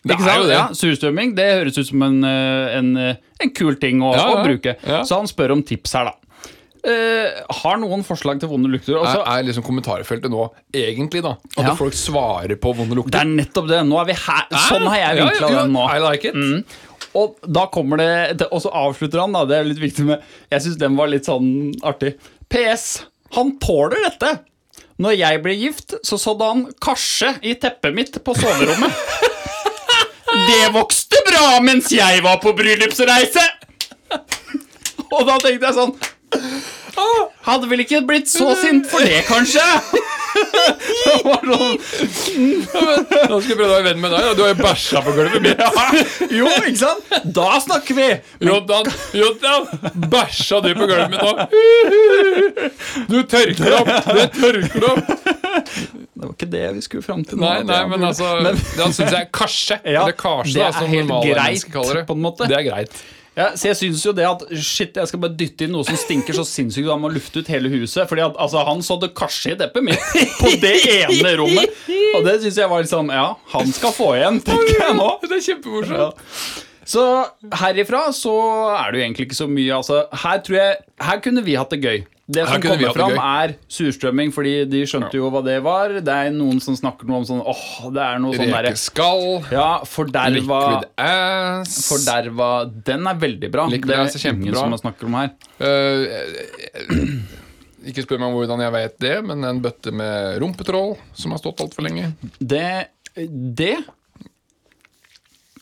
Speaker 1: Det
Speaker 2: Ikke
Speaker 1: er
Speaker 2: sant?
Speaker 1: jo det.
Speaker 2: Ja, surstrømming det høres ut som en, eh, en, eh, en kul ting å,
Speaker 1: Ja, ja,
Speaker 2: å bruke.
Speaker 1: ja.
Speaker 2: Så han spør om tips her, da. Eh, har noen forslag til vonde lukter? Altså,
Speaker 1: Er,
Speaker 2: Og så-
Speaker 1: er liksom kommentarfeltet nå egentlig, da? At
Speaker 2: Ja.
Speaker 1: folk svarer på vonde
Speaker 2: det
Speaker 1: lukter?
Speaker 2: er nettopp det! Nå er vi her. Sånn har jeg
Speaker 1: Ja,
Speaker 2: vinkla
Speaker 1: ja, ja,
Speaker 2: den nå. Mm.
Speaker 1: I like it.
Speaker 2: Og da kommer det Og så avslutter han, da. Det er litt viktig med Jeg syns den var litt sånn artig. PS. Han tåler dette! Når jeg ble gift, så sådde han karse i teppet mitt på soverommet. Det vokste bra mens jeg var på bryllupsreise! Og da tenkte jeg sånn «Å, Hadde vel ikke blitt så sint for det, kanskje? Det var sånn,
Speaker 1: Nå skal jeg prøve å være venn med deg. Da. Du har jo bæsja på gulvet mitt.
Speaker 2: jo, ikke sant? Da snakker vi!
Speaker 1: Jodan, Jodan, bæsja du på gulvet mitt nå? Du tørker det opp! Du tørker det opp!
Speaker 2: Det var ikke det vi skulle fram til. nå,
Speaker 1: Nei,
Speaker 2: at
Speaker 1: nei,
Speaker 2: jeg-
Speaker 1: men altså Da syns jeg kanskje.
Speaker 2: Ja,
Speaker 1: Eller karse,
Speaker 2: det
Speaker 1: da,
Speaker 2: er
Speaker 1: som
Speaker 2: helt
Speaker 1: normale
Speaker 2: greit,
Speaker 1: mennesker kaller det.
Speaker 2: på en måte.
Speaker 1: Det er greit.
Speaker 2: Ja, så jeg synes jo det at Shit, jeg skal bare dytte inn noe som stinker så sinnssykt at han må lufte ut hele huset. Fordi at altså, han sådde karse i deppet mitt på det ene rommet. Og det synes jeg var liksom Ja, han skal få igjen, tenker jeg nå.
Speaker 1: Det er kjempemorsomt.
Speaker 2: Ja. Så herifra så er det jo egentlig ikke så mye. Altså, her tror jeg Her kunne vi hatt det gøy. Det som
Speaker 1: kunne vi
Speaker 2: kommer
Speaker 1: hatt det
Speaker 2: fram,
Speaker 1: gøy.
Speaker 2: er surstrømming, fordi de skjønte jo hva det var. Det er noen som snakker noe om sånn åh, det er noe sånn derre
Speaker 1: Rekeskall,
Speaker 2: Ja, forderva
Speaker 1: liquid ass
Speaker 2: Forderva, den er veldig bra.
Speaker 1: Liquid
Speaker 2: det
Speaker 1: Ass er
Speaker 2: er ingen
Speaker 1: kjempebra.
Speaker 2: som snakker om her.
Speaker 1: Eh, Ikke spør meg hvordan jeg vet det, men en bøtte med rumpetroll som har stått altfor lenge.
Speaker 2: Det Det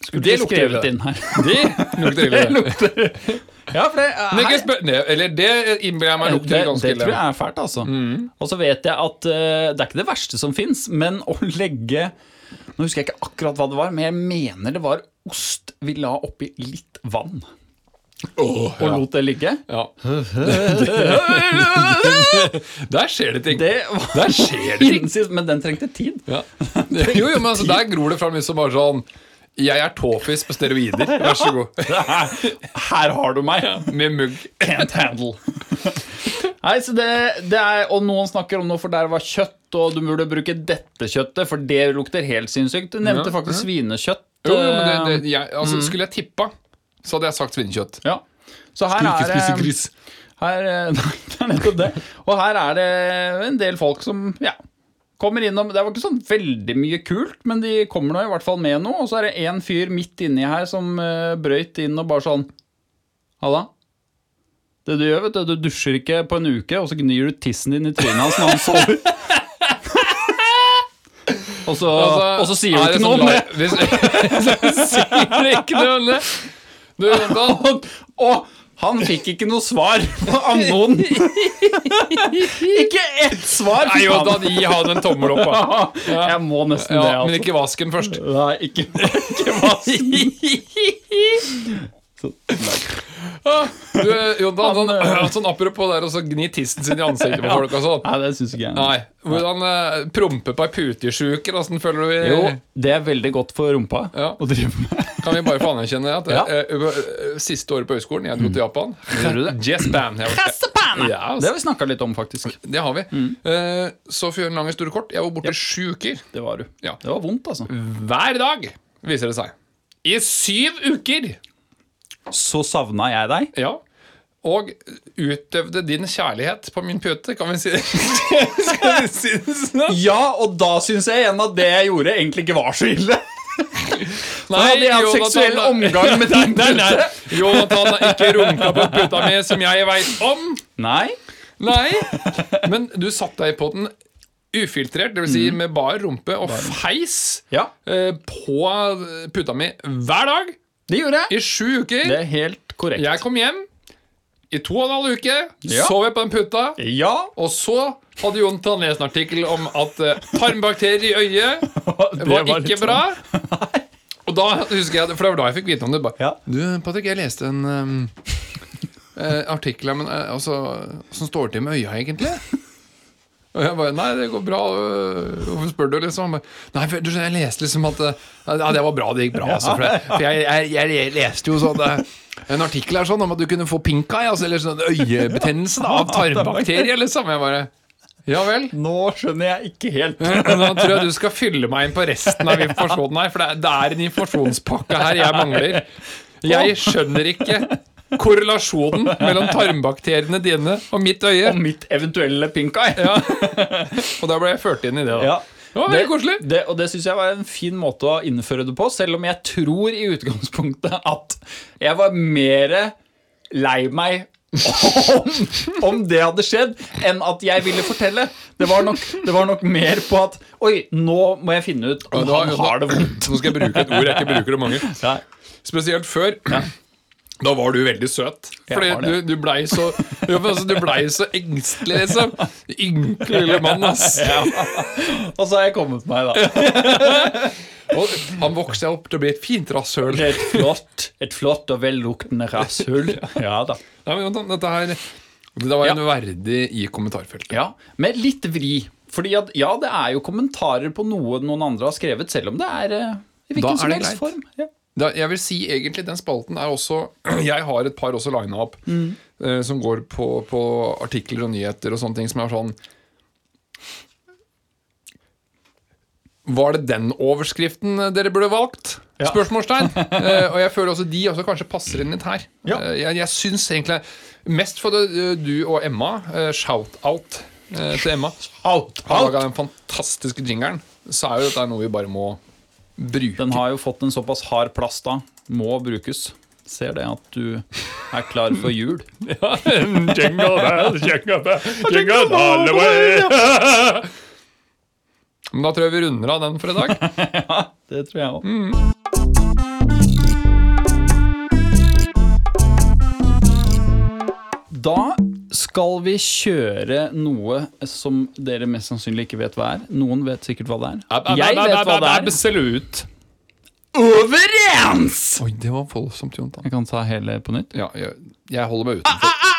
Speaker 2: skulle
Speaker 1: Det
Speaker 2: ikke
Speaker 1: lukter
Speaker 2: skrevet
Speaker 1: ille.
Speaker 2: inn her.
Speaker 1: Det lukter ille.
Speaker 2: Ja, for det,
Speaker 1: Men ikke
Speaker 2: her,
Speaker 1: spør, nei, eller det innbiller jeg meg
Speaker 2: det, det
Speaker 1: lukter ganske
Speaker 2: tror
Speaker 1: ille. Mm.
Speaker 2: jeg er fælt, altså. Og så vet jeg at eh, det er ikke det verste som fins, men å legge Nå husker jeg ikke akkurat hva det var, men jeg mener det var ost vi la oppi litt vann. og lot det ligge.
Speaker 1: Ja. Der skjer det ting.
Speaker 2: Det var
Speaker 1: Der skjer det ting.
Speaker 2: innsist, men den trengte tid.
Speaker 1: Ja. Jo, jo, men altså, der gror det fram litt som bare sånn Jeg er tåfis på steroider, vær så god.
Speaker 2: Her, her har du meg.
Speaker 1: Med mugg.
Speaker 2: Can't handle. Nei, så det, det er, og noen snakker om noe forderva kjøtt, og du burde bruke dette kjøttet, for det lukter helt sinnssykt. Du nevnte
Speaker 1: Ja,
Speaker 2: faktisk svinekjøtt. eh,
Speaker 1: Jo, jo, men det, det, jeg,
Speaker 2: Mm.
Speaker 1: altså, skulle jeg tippa, så hadde jeg sagt svinekjøtt.
Speaker 2: ja. Så her
Speaker 1: Ikke
Speaker 2: er
Speaker 1: spise
Speaker 2: eh,
Speaker 1: gris.
Speaker 2: Her, eh, nei, det er nettopp det. Og her er det en del folk som ja, kommer innom. Det var ikke sånn veldig mye kult, men de kommer nå i hvert fall med noe. Og så er det en fyr midt inni her som eh, brøyt inn og bare sånn Halla. Det du gjør, vet du, du dusjer ikke på en uke, og så gnir du tissen din i trynet hans når han sover. Og så,
Speaker 1: Altså,
Speaker 2: og så sier du ikke
Speaker 1: sånn
Speaker 2: noe om det. sånn
Speaker 1: sier du ikke noe om det. Du, Jontan,
Speaker 2: Og, og han fikk ikke noe svar av noen. ikke ett svar!
Speaker 1: Nei,
Speaker 2: fikk han.
Speaker 1: Jontan, gi han en tommel opp, da.
Speaker 2: Jeg må nesten
Speaker 1: Ja,
Speaker 2: det, altså.
Speaker 1: men ikke vask den først.
Speaker 2: Nei, ikke, ikke vasken. Så- nei.
Speaker 1: Ah, Du, Jontan, sånn,
Speaker 2: Han, eh,
Speaker 1: sånn apropos der og så gni tissen sin i ansiktet på folk og sånn.
Speaker 2: Nei, det syns ikke jeg.
Speaker 1: Nei. Hvordan eh, prompe på ei putesjuke? Åssen føler du vi
Speaker 2: Jo, det er veldig godt for rumpa
Speaker 1: Ja.
Speaker 2: å drive med.
Speaker 1: Kan vi bare få anerkjenne at
Speaker 2: Ja. Mm.
Speaker 1: eh, eh, siste året på høyskolen, jeg dro til Japan
Speaker 2: Gjorde du det?
Speaker 1: Yes, bam! Jeg var- Ja,
Speaker 2: Det Mm.
Speaker 1: altså,
Speaker 2: har vi snakka litt om, faktisk.
Speaker 1: det har vi. Eh, så for å gjøre en lang historie kort, jeg var borte sju uker.
Speaker 2: Det var du.
Speaker 1: Ja.
Speaker 2: Det var vondt, altså.
Speaker 1: Hver dag, viser det seg. I syv uker!
Speaker 2: Så savna jeg deg.
Speaker 1: Ja. Og utøvde din kjærlighet på min pute, kan vi si det? Skal vi si det sånn?
Speaker 2: Ja, og da syns jeg igjen at det jeg gjorde, egentlig ikke var så ille.
Speaker 1: Nei,
Speaker 2: hadde jeg hatt
Speaker 1: Jonathan,
Speaker 2: seksuell
Speaker 1: da-
Speaker 2: omgang med din
Speaker 1: Nei, nei, nei. Jonathan har ikke runka på puta mi, som jeg veit om.
Speaker 2: Nei.
Speaker 1: Nei. Men du satt deg på den ufiltrert, dvs. Si med bar rumpe, og feis
Speaker 2: Mm. Ja,
Speaker 1: eh, på puta mi hver dag
Speaker 2: det gjorde jeg.
Speaker 1: i sju uker.
Speaker 2: Det er helt korrekt.
Speaker 1: Jeg kom hjem i to og en halv uke,
Speaker 2: Ja.
Speaker 1: sov jeg på den puta,
Speaker 2: Ja,
Speaker 1: og så hadde Jonathan lest en artikkel om at eh, tarmbakterier i øyet
Speaker 2: det
Speaker 1: var,
Speaker 2: var
Speaker 1: ikke
Speaker 2: litt
Speaker 1: bra. Og da husker jeg, for det var da jeg fikk vite om det. Bare,
Speaker 2: Ja.
Speaker 1: Du, Patrick, jeg leste en um, eh, artikkel her, men eh, altså, Hvordan står det til med øya, egentlig? Og jeg bare Nei, det går bra. øh, Hvorfor spør du, liksom? Han bare, Nei, for, du skjønner, jeg leste liksom at eh, Ja, det var bra. Det gikk bra, altså. For, jeg- for jeg, jeg, jeg leste jo sånn eh, en artikkel her sånn om at du kunne få pink eye, altså, eller sånn øyebetennelse da, av tarmbakterier, liksom. Jeg bare Ja vel?
Speaker 2: sånn. Nå skjønner jeg ikke helt.
Speaker 1: Nå tror jeg du skal fylle meg inn på resten av informasjonen her, for det er, det er en informasjonspakke her jeg mangler. Jeg skjønner ikke korrelasjonen mellom tarmbakteriene dine og mitt øye.
Speaker 2: Om mitt eventuelle pink eye.
Speaker 1: Ja. Og da ble jeg ført inn i det, da.
Speaker 2: Ja.
Speaker 1: Det var veldig koselig.
Speaker 2: Det, og det syns jeg var en fin måte å innføre det på, selv om jeg tror i utgangspunktet at jeg var mer lei meg om, om det hadde skjedd, enn at jeg ville fortelle. Det var nok, det var nok mer på at Oi, nå må jeg finne ut om
Speaker 1: Nå-
Speaker 2: han har det vondt.
Speaker 1: Nå skal jeg bruke et ord jeg ikke bruker det mange.
Speaker 2: Nei.
Speaker 1: Spesielt før. Da var du veldig søt.
Speaker 2: Jeg
Speaker 1: Fordi
Speaker 2: var
Speaker 1: du,
Speaker 2: det.
Speaker 1: du blei så ja, men altså, Du blei så engstelig, liksom. Ynkelig lille mann, ass.
Speaker 2: Og så har jeg kommet meg, da.
Speaker 1: Og han vokste opp til å bli et fint rasshøl. Nei,
Speaker 2: Et flott, et flott og velluktende rasshull. Ja da.
Speaker 1: men vent da, Dette her Det var en verdig i kommentarfeltet.
Speaker 2: Ja, Med litt vri. Fordi at, ja, det er jo kommentarer på noe noen andre har skrevet, selv om det er eh,
Speaker 1: Da
Speaker 2: i hvilken
Speaker 1: er
Speaker 2: som
Speaker 1: det
Speaker 2: helst
Speaker 1: greit.
Speaker 2: form. Ja.
Speaker 1: Da, jeg vil si egentlig den spalten er også Jeg har et par også lina opp
Speaker 2: Mm.
Speaker 1: eh, som går på, på artikler og nyheter og sånne ting som er sånn Var det den overskriften dere burde valgt?
Speaker 2: Ja.
Speaker 1: Spørsmålstegn. Eh, og jeg føler også de også kanskje passer inn litt her.
Speaker 2: Ja.
Speaker 1: Eh, jeg jeg syns egentlig Mest for det, eh, du og Emma. eh, Shout-out eh, til Emma.
Speaker 2: Out,
Speaker 1: Har laga den fantastiske jingeren. Så er jo dette noe vi bare må bruke.
Speaker 2: Den har jo fått en såpass hard plass da. Må brukes. Ser det at du er klar for jul.
Speaker 1: Jingle bell, jingle bell, jingle all the way. Men da tror jeg vi runder av den for i dag.
Speaker 2: Det tror jeg òg. Da skal vi kjøre noe som dere mest sannsynlig ikke vet hva er. Noen vet sikkert hva det er. Jeg vet hva det er.
Speaker 1: Absolutt.
Speaker 2: Overens!
Speaker 1: Oi, det var voldsomt, Jontan. Ah,
Speaker 2: Jeg kan ta hele på nytt.
Speaker 1: Ja, jeg, jeg holder meg utenfor.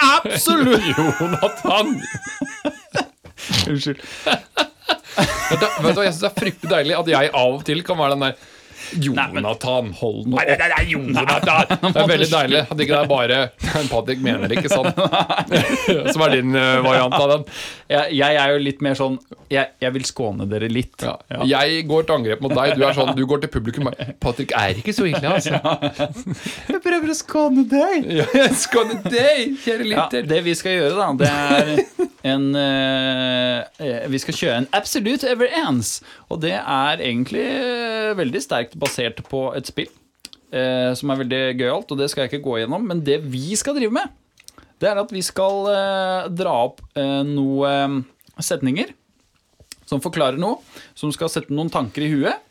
Speaker 2: Absolutt!
Speaker 1: Jonathan!
Speaker 2: Unnskyld.
Speaker 1: Vet du, vet du, hva, jeg syns det er fryktelig deilig at jeg av og til kan være den der Jonathan.
Speaker 2: Hold nå
Speaker 1: Nei, nei, nei, Jonathan! Det er veldig deilig at ikke det er bare Men Patrick mener det ikke sånn. Som er din eh, variant av den.
Speaker 2: Jeg, jeg er jo litt mer sånn Jeg, jeg vil skåne dere litt.
Speaker 1: Ja.
Speaker 2: Ja.
Speaker 1: Jeg går til angrep mot deg. Du er sånn, du går til publikum og bare, Patrick er ikke så ille, altså.
Speaker 2: Jeg prøver å skåne deg!
Speaker 1: Skåne deg, kjære
Speaker 2: Ja,
Speaker 1: lytter.
Speaker 2: det vi skal gjøre, da, det er en eh, Vi skal kjøre en Absolute Everends. Og det er egentlig eh, veldig sterkt basert på et spill eh, som er veldig gøyalt, og det skal jeg ikke gå gjennom. Men det vi skal drive med, det er at vi skal eh, dra opp eh, noen setninger som forklarer noe, som skal sette noen tanker i huet.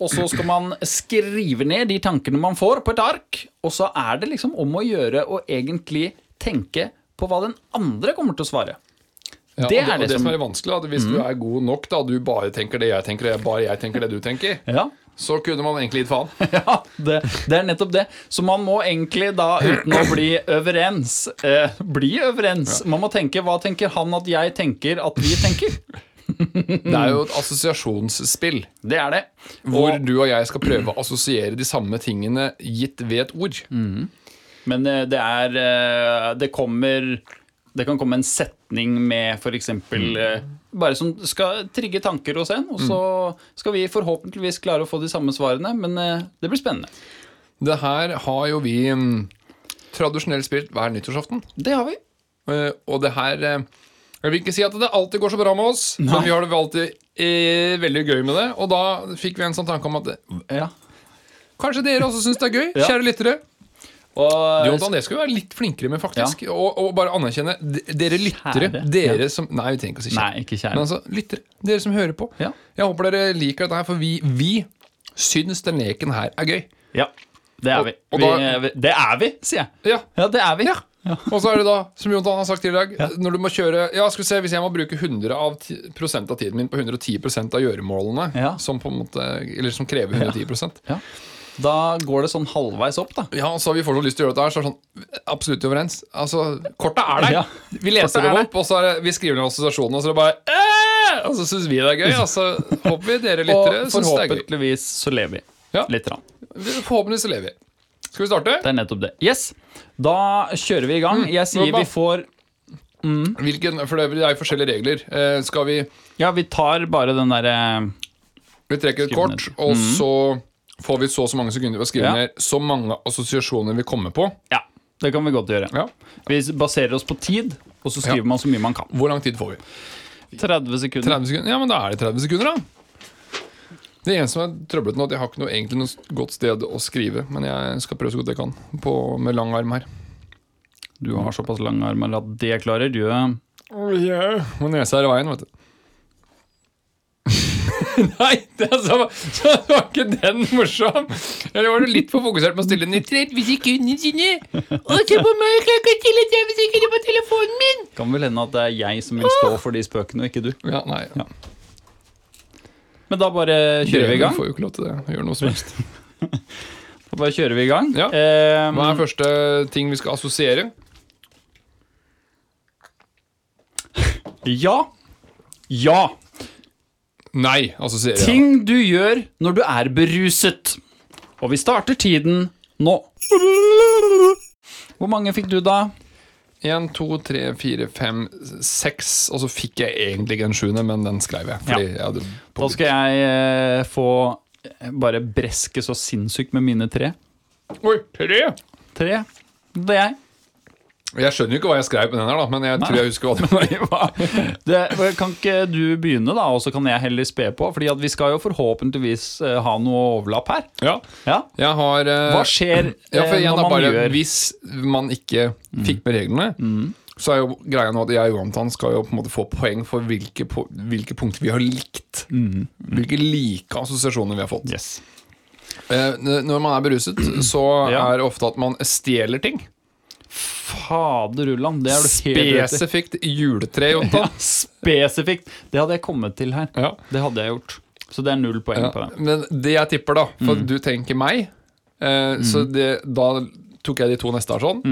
Speaker 2: Og så skal man skrive ned de tankene man får på et ark. Og så er det liksom om å gjøre å egentlig tenke på hva den andre kommer til å svare.
Speaker 1: Ja,
Speaker 2: det
Speaker 1: og
Speaker 2: er det
Speaker 1: og det
Speaker 2: som- Mm.
Speaker 1: som er vanskelig, da, at hvis du er god nok, da, du bare tenker det jeg tenker, det jeg- bare jeg tenker det du tenker,
Speaker 2: Ja,
Speaker 1: så kunne man egentlig gitt faen.
Speaker 2: ja det, det er nettopp det. Så man må egentlig da, uten å bli overens, eh, bli overens. Man må tenke hva tenker han at jeg tenker at vi tenker.
Speaker 1: Det er jo et assosiasjonsspill
Speaker 2: Det er det.
Speaker 1: hvor du og jeg skal prøve å assosiere de samme tingene gitt ved et ord.
Speaker 2: Mm. Men eh, det er eh, Det kommer Det kan komme en setning med f.eks. Bare som skal trigge tanker hos en, og så skal vi forhåpentligvis klare å få de samme svarene. Men eh, det blir spennende.
Speaker 1: Det her har jo vi mm, tradisjonelt spilt hver nyttårsaften.
Speaker 2: Det har vi.
Speaker 1: Eh, Og det her eh, Jeg vil ikke si at det alltid går så bra med oss, men vi har det vel alltid eh, veldig gøy med det. Og da fikk vi en sånn tanke om at eh,
Speaker 2: Ja.
Speaker 1: kanskje dere også syns det er gøy,
Speaker 2: Ja.
Speaker 1: kjære lyttere.
Speaker 2: Og, eh,
Speaker 1: Jonathan, det skulle vi være litt flinkere med, faktisk. Og, og bare anerkjenne d- dere lyttere.
Speaker 2: Kjære.
Speaker 1: Dere som Nei, vi trenger ikke å si
Speaker 2: nei,
Speaker 1: kjære.
Speaker 2: ikke
Speaker 1: Men
Speaker 2: kjære.
Speaker 1: altså, lyttere. Dere som hører på.
Speaker 2: Ja.
Speaker 1: Jeg håper dere liker dette her, for vi, vi syns den leken her er gøy.
Speaker 2: Ja, det er vi.
Speaker 1: Og- og
Speaker 2: vi, eh,
Speaker 1: da-
Speaker 2: vi. Det er vi, sier jeg.
Speaker 1: Ja.
Speaker 2: Ja, det er vi.
Speaker 1: Og så er det da, som Jontan har sagt tidligere i dag, når du må kjøre Ja, skal vi se, hvis jeg må bruke 100 av ti- prosent av tiden min på 110 av gjøremålene,
Speaker 2: Ja.
Speaker 1: som på en måte Eller som krever 110
Speaker 2: Da går det sånn halvveis opp, da.
Speaker 1: Ja, så har vi fortsatt lyst til å gjøre dette her, så er det sånn Absolutt overens. Altså, korta er der.
Speaker 2: Ja.
Speaker 1: Vi leser
Speaker 2: Kortet er
Speaker 1: dem opp, og så er det, vi skriver ned assosiasjonene, og så er det bare «Eh!» Og så syns vi det er gøy, og så håper vi dere
Speaker 2: Og
Speaker 1: lyttere syns det er gøy.
Speaker 2: forhåpentligvis så lever vi.
Speaker 1: Ja.
Speaker 2: Litt. Rann.
Speaker 1: Forhåpentligvis så lever vi. Skal vi starte?
Speaker 2: Det er nettopp det. Yes, Da kjører vi i gang. Jeg sier
Speaker 1: bra.
Speaker 2: vi får
Speaker 1: Hvilken, for det er jo forskjellige regler. Eh, skal vi
Speaker 2: Ja, vi tar bare den eh, derre
Speaker 1: Vi trekker et
Speaker 2: Skriv
Speaker 1: kort,
Speaker 2: ned. Mhm.
Speaker 1: og så får vi så og så mange sekunder på å skrive
Speaker 2: Ja.
Speaker 1: ned så mange assosiasjoner vi kommer på.
Speaker 2: Ja, det kan vi godt gjøre.
Speaker 1: Ja.
Speaker 2: Vi baserer oss på tid, og så skriver
Speaker 1: Ja.
Speaker 2: man så mye man kan.
Speaker 1: Hvor lang tid får vi?
Speaker 2: 30 sekunder.
Speaker 1: 30 sekunder? Ja, men da er det 30 sekunder, da. Det eneste som er trøblete nå, at jeg har ikke noe, egentlig noe godt sted å skrive. Men jeg skal prøve så godt jeg kan på, med lang arm her.
Speaker 2: Du har såpass lange armer at det klarer du. eh,
Speaker 1: Og nesa er i veien, vet du. Nei, det er så, så var ikke den morsom! Eller var du litt for fokusert på å stille den i 30 sekunder sine? Og se på meg, jeg kan ikke stille 30 sekunder på telefonen min!
Speaker 2: Kan vel hende at det er jeg som vil
Speaker 1: Ah!
Speaker 2: stå for de spøkene, og ikke du.
Speaker 1: Ja, nei.
Speaker 2: Ja. Men da bare kjører vi i gang.
Speaker 1: Du får jo ikke lov til det. Gjør noe som helst.
Speaker 2: Da bare kjører vi i gang.
Speaker 1: Ja.
Speaker 2: Eh,
Speaker 1: Hva er første ting vi skal assosiere?
Speaker 2: ja. Ja.
Speaker 1: Nei, assosiere. ja.
Speaker 2: Ting du gjør når du er beruset. Og vi starter tiden nå. Hvor mange fikk du, da?
Speaker 1: 1, 2, 3, 4, 5, 6 Og så fikk jeg egentlig ikke en sjuende, men den skrev jeg. Fordi jeg hadde
Speaker 2: Da skal jeg eh, få eh, bare breske så sinnssykt med mine tre.
Speaker 1: Oi, tre!
Speaker 2: Tre. Det er jeg.
Speaker 1: Jeg skjønner jo ikke hva jeg skrev på den her, da, men jeg tror jeg husker hva det var.
Speaker 2: Det, kan ikke du begynne, da, og så kan jeg heller spe på? Fordi at vi skal jo forhåpentligvis eh, ha noe overlapp her.
Speaker 1: Ja,
Speaker 2: Ja.
Speaker 1: jeg har eh,
Speaker 2: Hva skjer eh,
Speaker 1: ja, for igjen,
Speaker 2: når
Speaker 1: da,
Speaker 2: man
Speaker 1: bare,
Speaker 2: gjør Mm.
Speaker 1: Hvis man ikke fikk med reglene, så er jo greia nå at jeg og Jonathan skal jo på en måte få poeng for hvilke, po hvilke punkter vi har likt.
Speaker 2: Mm.
Speaker 1: Hvilke like assosiasjoner vi har fått.
Speaker 2: yes.
Speaker 1: Eh, n- når man er beruset, så
Speaker 2: Ja.
Speaker 1: er det ofte at man stjeler ting.
Speaker 2: Faderullan, det er du helt rett i.
Speaker 1: Spesifikt juletre, Jonathan.
Speaker 2: Spesifikt! Det hadde jeg kommet til her.
Speaker 1: Ja.
Speaker 2: Det hadde jeg gjort. Så det Mm. er null poeng
Speaker 1: Ja,
Speaker 2: på den.
Speaker 1: Men det jeg tipper, da For du tenker meg. eh,
Speaker 2: Mm.
Speaker 1: Så det, da tok jeg de to neste her sånn.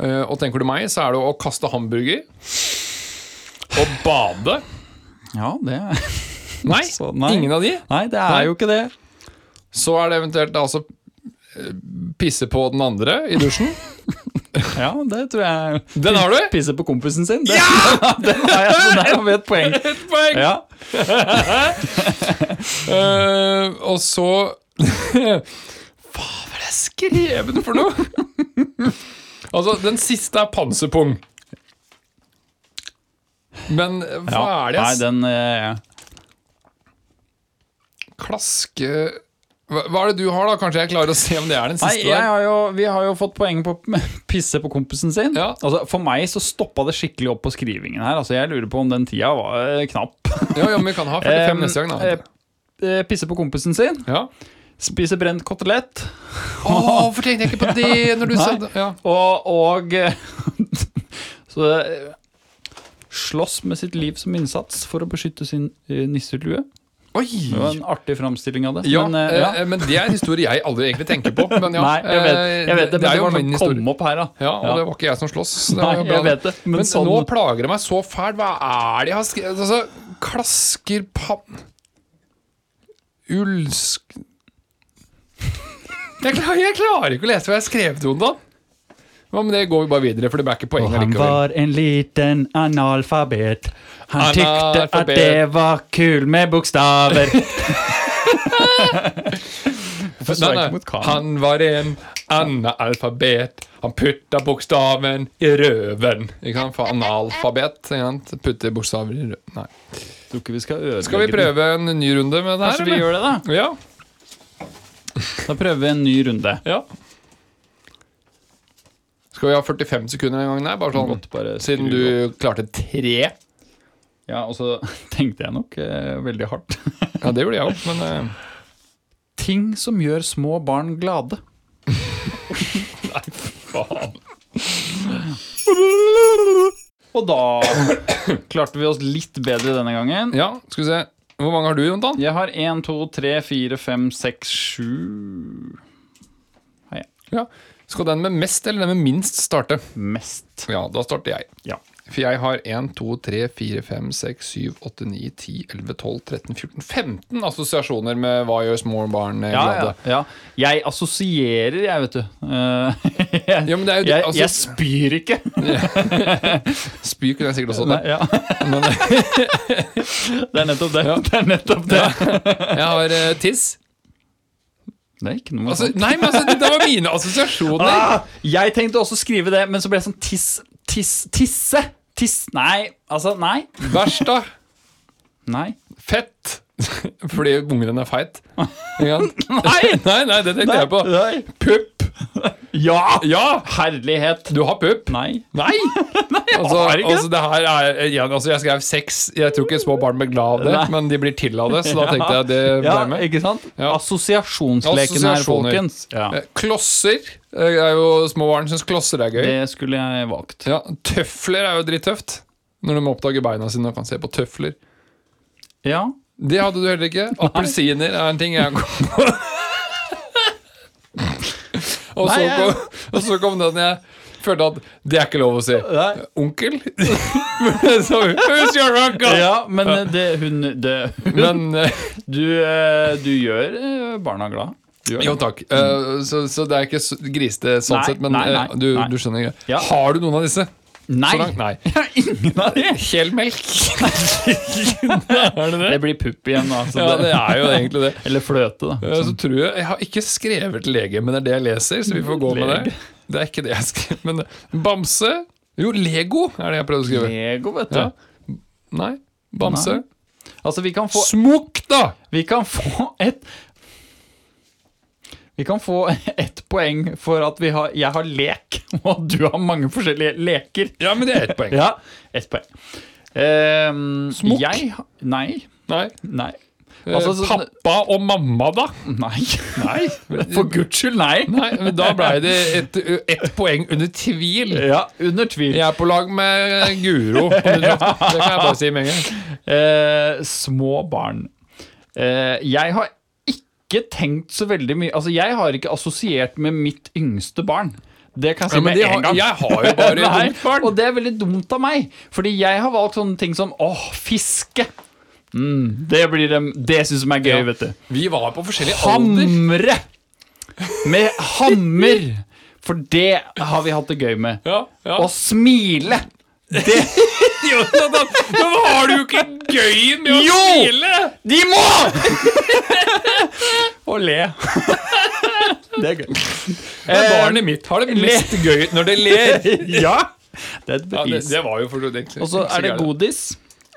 Speaker 1: Eh, og tenker du meg, så er det å kaste hamburger. Og bade.
Speaker 2: Ja, det er
Speaker 1: Nei,
Speaker 2: Så, nei.
Speaker 1: ingen av de.
Speaker 2: Nei, det er jo ikke det.
Speaker 1: Så er det eventuelt da altså eh, pisse på den andre i dusjen.
Speaker 2: Ja, det tror jeg
Speaker 1: Den har du?
Speaker 2: Pisse på kompisen sin. Det, ja! den har jeg, så der har vi et poeng.
Speaker 1: Ett poeng!
Speaker 2: Ja.
Speaker 1: Eh, og så Hva var det skreven for noe? altså, den siste er panserpung. Men eh, hva
Speaker 2: ja.
Speaker 1: er det
Speaker 2: Nei,
Speaker 1: jeg
Speaker 2: den eh,
Speaker 1: Klaske hva, hva er det du har, da? Kanskje jeg klarer å se om det er den
Speaker 2: Nei,
Speaker 1: siste
Speaker 2: jeg
Speaker 1: der?
Speaker 2: har jo, vi har jo fått poeng på å pisse på kompisen sin.
Speaker 1: Ja.
Speaker 2: Altså, for meg så stoppa det skikkelig opp på skrivingen her. Altså, jeg lurer på om den tida var eh, knapp.
Speaker 1: Ja, ja, men vi kan ha 45
Speaker 2: Em,
Speaker 1: neste gang,
Speaker 2: eh,
Speaker 1: da.
Speaker 2: eh, Pisse på kompisen sin,
Speaker 1: Ja.
Speaker 2: spise brent kotelett
Speaker 1: Å, hvorfor tenkte jeg ikke på det når du sa
Speaker 2: Nei.
Speaker 1: det? Ja.
Speaker 2: og, og eh, Så eh, slåss med sitt liv som innsats for å beskytte sin eh, nisselue. Det var
Speaker 1: Oi!
Speaker 2: en artig framstilling av det.
Speaker 1: Ja,
Speaker 2: men, eh, ja.
Speaker 1: eh, men det er en historie jeg aldri egentlig tenker på. Men ja,
Speaker 2: Nei, jeg vet, jeg
Speaker 1: eh,
Speaker 2: vet det, men
Speaker 1: det er jo
Speaker 2: var
Speaker 1: min
Speaker 2: noe
Speaker 1: historie.
Speaker 2: kom opp her, da.
Speaker 1: Ja, og
Speaker 2: Ja.
Speaker 1: det var ikke jeg som slåss. så Det
Speaker 2: Nei,
Speaker 1: var jo bra
Speaker 2: jeg vet det, men
Speaker 1: men
Speaker 2: sånn-
Speaker 1: nå plager det meg så fælt. Hva er det jeg har skrevet? Altså, klasker pann... Ulsk... Jeg klarer, jeg klarer ikke å lese hva jeg har skrevet, Jondan. Hva med det går vi bare videre, for det blir ikke poeng
Speaker 2: Og han
Speaker 1: allikevel.
Speaker 2: var en liten analfabet. Han tykte at
Speaker 1: Analfabet.
Speaker 2: det var kul med bokstaver.
Speaker 1: Nei, nei, Han var en analfabet. Han putta bokstaven i røven. Ikke sant? For analfabet. Ikke sant? Putter bokstaver i røven. Nei.
Speaker 2: tror ikke vi skal ødelegge
Speaker 1: Skal vi prøve en ny runde med det her?
Speaker 2: Kanskje vi gjør det, da?
Speaker 1: det? Ja.
Speaker 2: Da prøver vi en ny runde.
Speaker 1: Ja. Skal vi ha 45 sekunder en gang der? Bare sånn,
Speaker 2: Godt, bare
Speaker 1: siden
Speaker 2: skru
Speaker 1: du klarte tre.
Speaker 2: Ja, og så tenkte jeg nok eh, veldig hardt.
Speaker 1: Ja, det gjorde jeg òg, men eh,
Speaker 2: Ting som gjør små barn glade. Og da klarte vi oss litt bedre denne gangen.
Speaker 1: Ja, skal vi se. Hvor mange har du, Jontan?
Speaker 2: Jeg har én, to, tre, fire, fem, seks, sju
Speaker 1: Ja. Skal den med mest eller den med minst starte?
Speaker 2: Mest.
Speaker 1: Ja, da starter jeg.
Speaker 2: Ja.
Speaker 1: For jeg har 1, 2, 3, 4, 5, 6, 7, 8, 9, 10, 11, 12, 13, 14, 15 assosiasjoner med hva gjør små barn eh,
Speaker 2: Ja,
Speaker 1: glade.
Speaker 2: ja, ja. Jeg assosierer, jeg, vet du. Eh, jeg,
Speaker 1: Ja, men det er jo-
Speaker 2: jeg,
Speaker 1: altså-
Speaker 2: jeg spyr ikke.
Speaker 1: Spy kunne jeg sikkert også
Speaker 2: Nei,
Speaker 1: hatt.
Speaker 2: ja. det er nettopp det. Det er nettopp det.
Speaker 1: Jeg har eh, tiss.
Speaker 2: Det er ikke noe
Speaker 1: Altså,
Speaker 2: sånt.
Speaker 1: nei, men altså, det var mine assosiasjoner.
Speaker 2: Ah, jeg tenkte også skrive det, men så ble jeg sånn tiss, tiss, tisse. Tiss. Nei, altså, nei.
Speaker 1: Verst, da.
Speaker 2: Nei.
Speaker 1: Fett. Fordi ungen din er feit. Ikke sant?
Speaker 2: Nei!
Speaker 1: Nei, nei, det tenkte jeg på.
Speaker 2: Nei.
Speaker 1: Pupp.
Speaker 2: Ja!
Speaker 1: Ja!
Speaker 2: Herlighet.
Speaker 1: Du har pupp?
Speaker 2: Nei.
Speaker 1: Nei! altså,
Speaker 2: har ikke det.
Speaker 1: altså, det her er igjen, altså, Jeg skrev seks. Jeg tror ikke små barn blir glad av det,
Speaker 2: Nei.
Speaker 1: men de blir til av det, så da tenkte jeg det ble
Speaker 2: Ja,
Speaker 1: med.
Speaker 2: ikke sant?
Speaker 1: Ja.
Speaker 2: Assosiasjonsleken her,
Speaker 1: Assosiasjoner.
Speaker 2: folkens. Ja.
Speaker 1: Eh, Klosser eh, er jo Små barn syns klosser er gøy.
Speaker 2: Det skulle jeg valgt.
Speaker 1: Ja, Tøfler er jo drittøft. Når de oppdager beina sine og kan se på tøfler.
Speaker 2: Ja.
Speaker 1: Det hadde du heller ikke. Appelsiner er en ting jeg kom på. og, så
Speaker 2: Nei, jeg-
Speaker 1: kom, og så kom den jeg følte at det er ikke lov å si.
Speaker 2: Nei.
Speaker 1: Onkel? så, Who's your uncle?
Speaker 2: ja, men eh, det, hun, det,
Speaker 1: Men eh,
Speaker 2: du, eh, du gjør eh, barna glad. Du gjør
Speaker 1: Jo,
Speaker 2: det.
Speaker 1: takk. Eh, så, så det er ikke s- grisete sånn
Speaker 2: Nei,
Speaker 1: sett, men
Speaker 2: nei, nei,
Speaker 1: eh, du,
Speaker 2: nei.
Speaker 1: du skjønner greia.
Speaker 2: Ja.
Speaker 1: Har du noen av disse?
Speaker 2: Nei!
Speaker 1: Så langt? Nei.
Speaker 2: Ingen av de.
Speaker 1: Hel melk. er det det?
Speaker 2: Det blir pupp igjen, da. så
Speaker 1: Ja, det er jo egentlig det.
Speaker 2: Eller fløte, da.
Speaker 1: Ja, Eh, så tror jeg, jeg har ikke skrevet lege, men det er det jeg leser, så vi får gå med det.
Speaker 2: Lege.
Speaker 1: Det er ikke det jeg skrev, men eh, Bamse Jo, Lego er det jeg prøvde å skrive.
Speaker 2: Lego, vet du.
Speaker 1: Ja. Nei. Bamse.
Speaker 2: Nei. Altså, vi kan få
Speaker 1: Smokk, da!
Speaker 2: Vi kan få et Vi kan få ett poeng for at vi har, jeg har lek, og at du har mange forskjellige leker.
Speaker 1: Ja, men det er ett poeng.
Speaker 2: Ja, ett poeng. Ehm,
Speaker 1: Smokk?
Speaker 2: Jeg, ha- nei.
Speaker 1: Nei.
Speaker 2: Nei.
Speaker 1: Eh,
Speaker 2: Altså, så-
Speaker 1: Pappa og mamma, da?
Speaker 2: Nei. For guds skyld, nei.
Speaker 1: Nei, men Da blei det ett ett poeng under tvil.
Speaker 2: Ja, under tvil.
Speaker 1: Jeg er på lag med Guro. på 118. Det kan jeg bare si med en gang.
Speaker 2: Eh, små barn. Eh, jeg har ikke tenkt så veldig mye Altså, jeg har ikke assosiert med mitt yngste barn. Det kan jeg si
Speaker 1: Ja, men
Speaker 2: med
Speaker 1: de
Speaker 2: en
Speaker 1: har-
Speaker 2: gang.
Speaker 1: jeg har jo bare
Speaker 2: Nei,
Speaker 1: dumt barn.
Speaker 2: Og det er veldig dumt av meg, fordi jeg har valgt sånne ting som åh, fiske. Mm, det blir dem, det syns de er gøy,
Speaker 1: Ja.
Speaker 2: vet du.
Speaker 1: Vi var på forskjellig alder.
Speaker 2: Hamre! Med hammer! For det har vi hatt det gøy med.
Speaker 1: Ja, ja.
Speaker 2: Å smile! Det
Speaker 1: Jonathan, men har du ikke gøy med å
Speaker 2: Jo!
Speaker 1: smile?
Speaker 2: De må! Og le. Det er gøy. Eh,
Speaker 1: Men barnet mitt har det mest gøy når det ler.
Speaker 2: Ja! Det er et
Speaker 1: Ja, det,
Speaker 2: bevis.
Speaker 1: det var jo for så vidt egentlig
Speaker 2: og så
Speaker 1: ikke
Speaker 2: er det
Speaker 1: gærent.
Speaker 2: godis.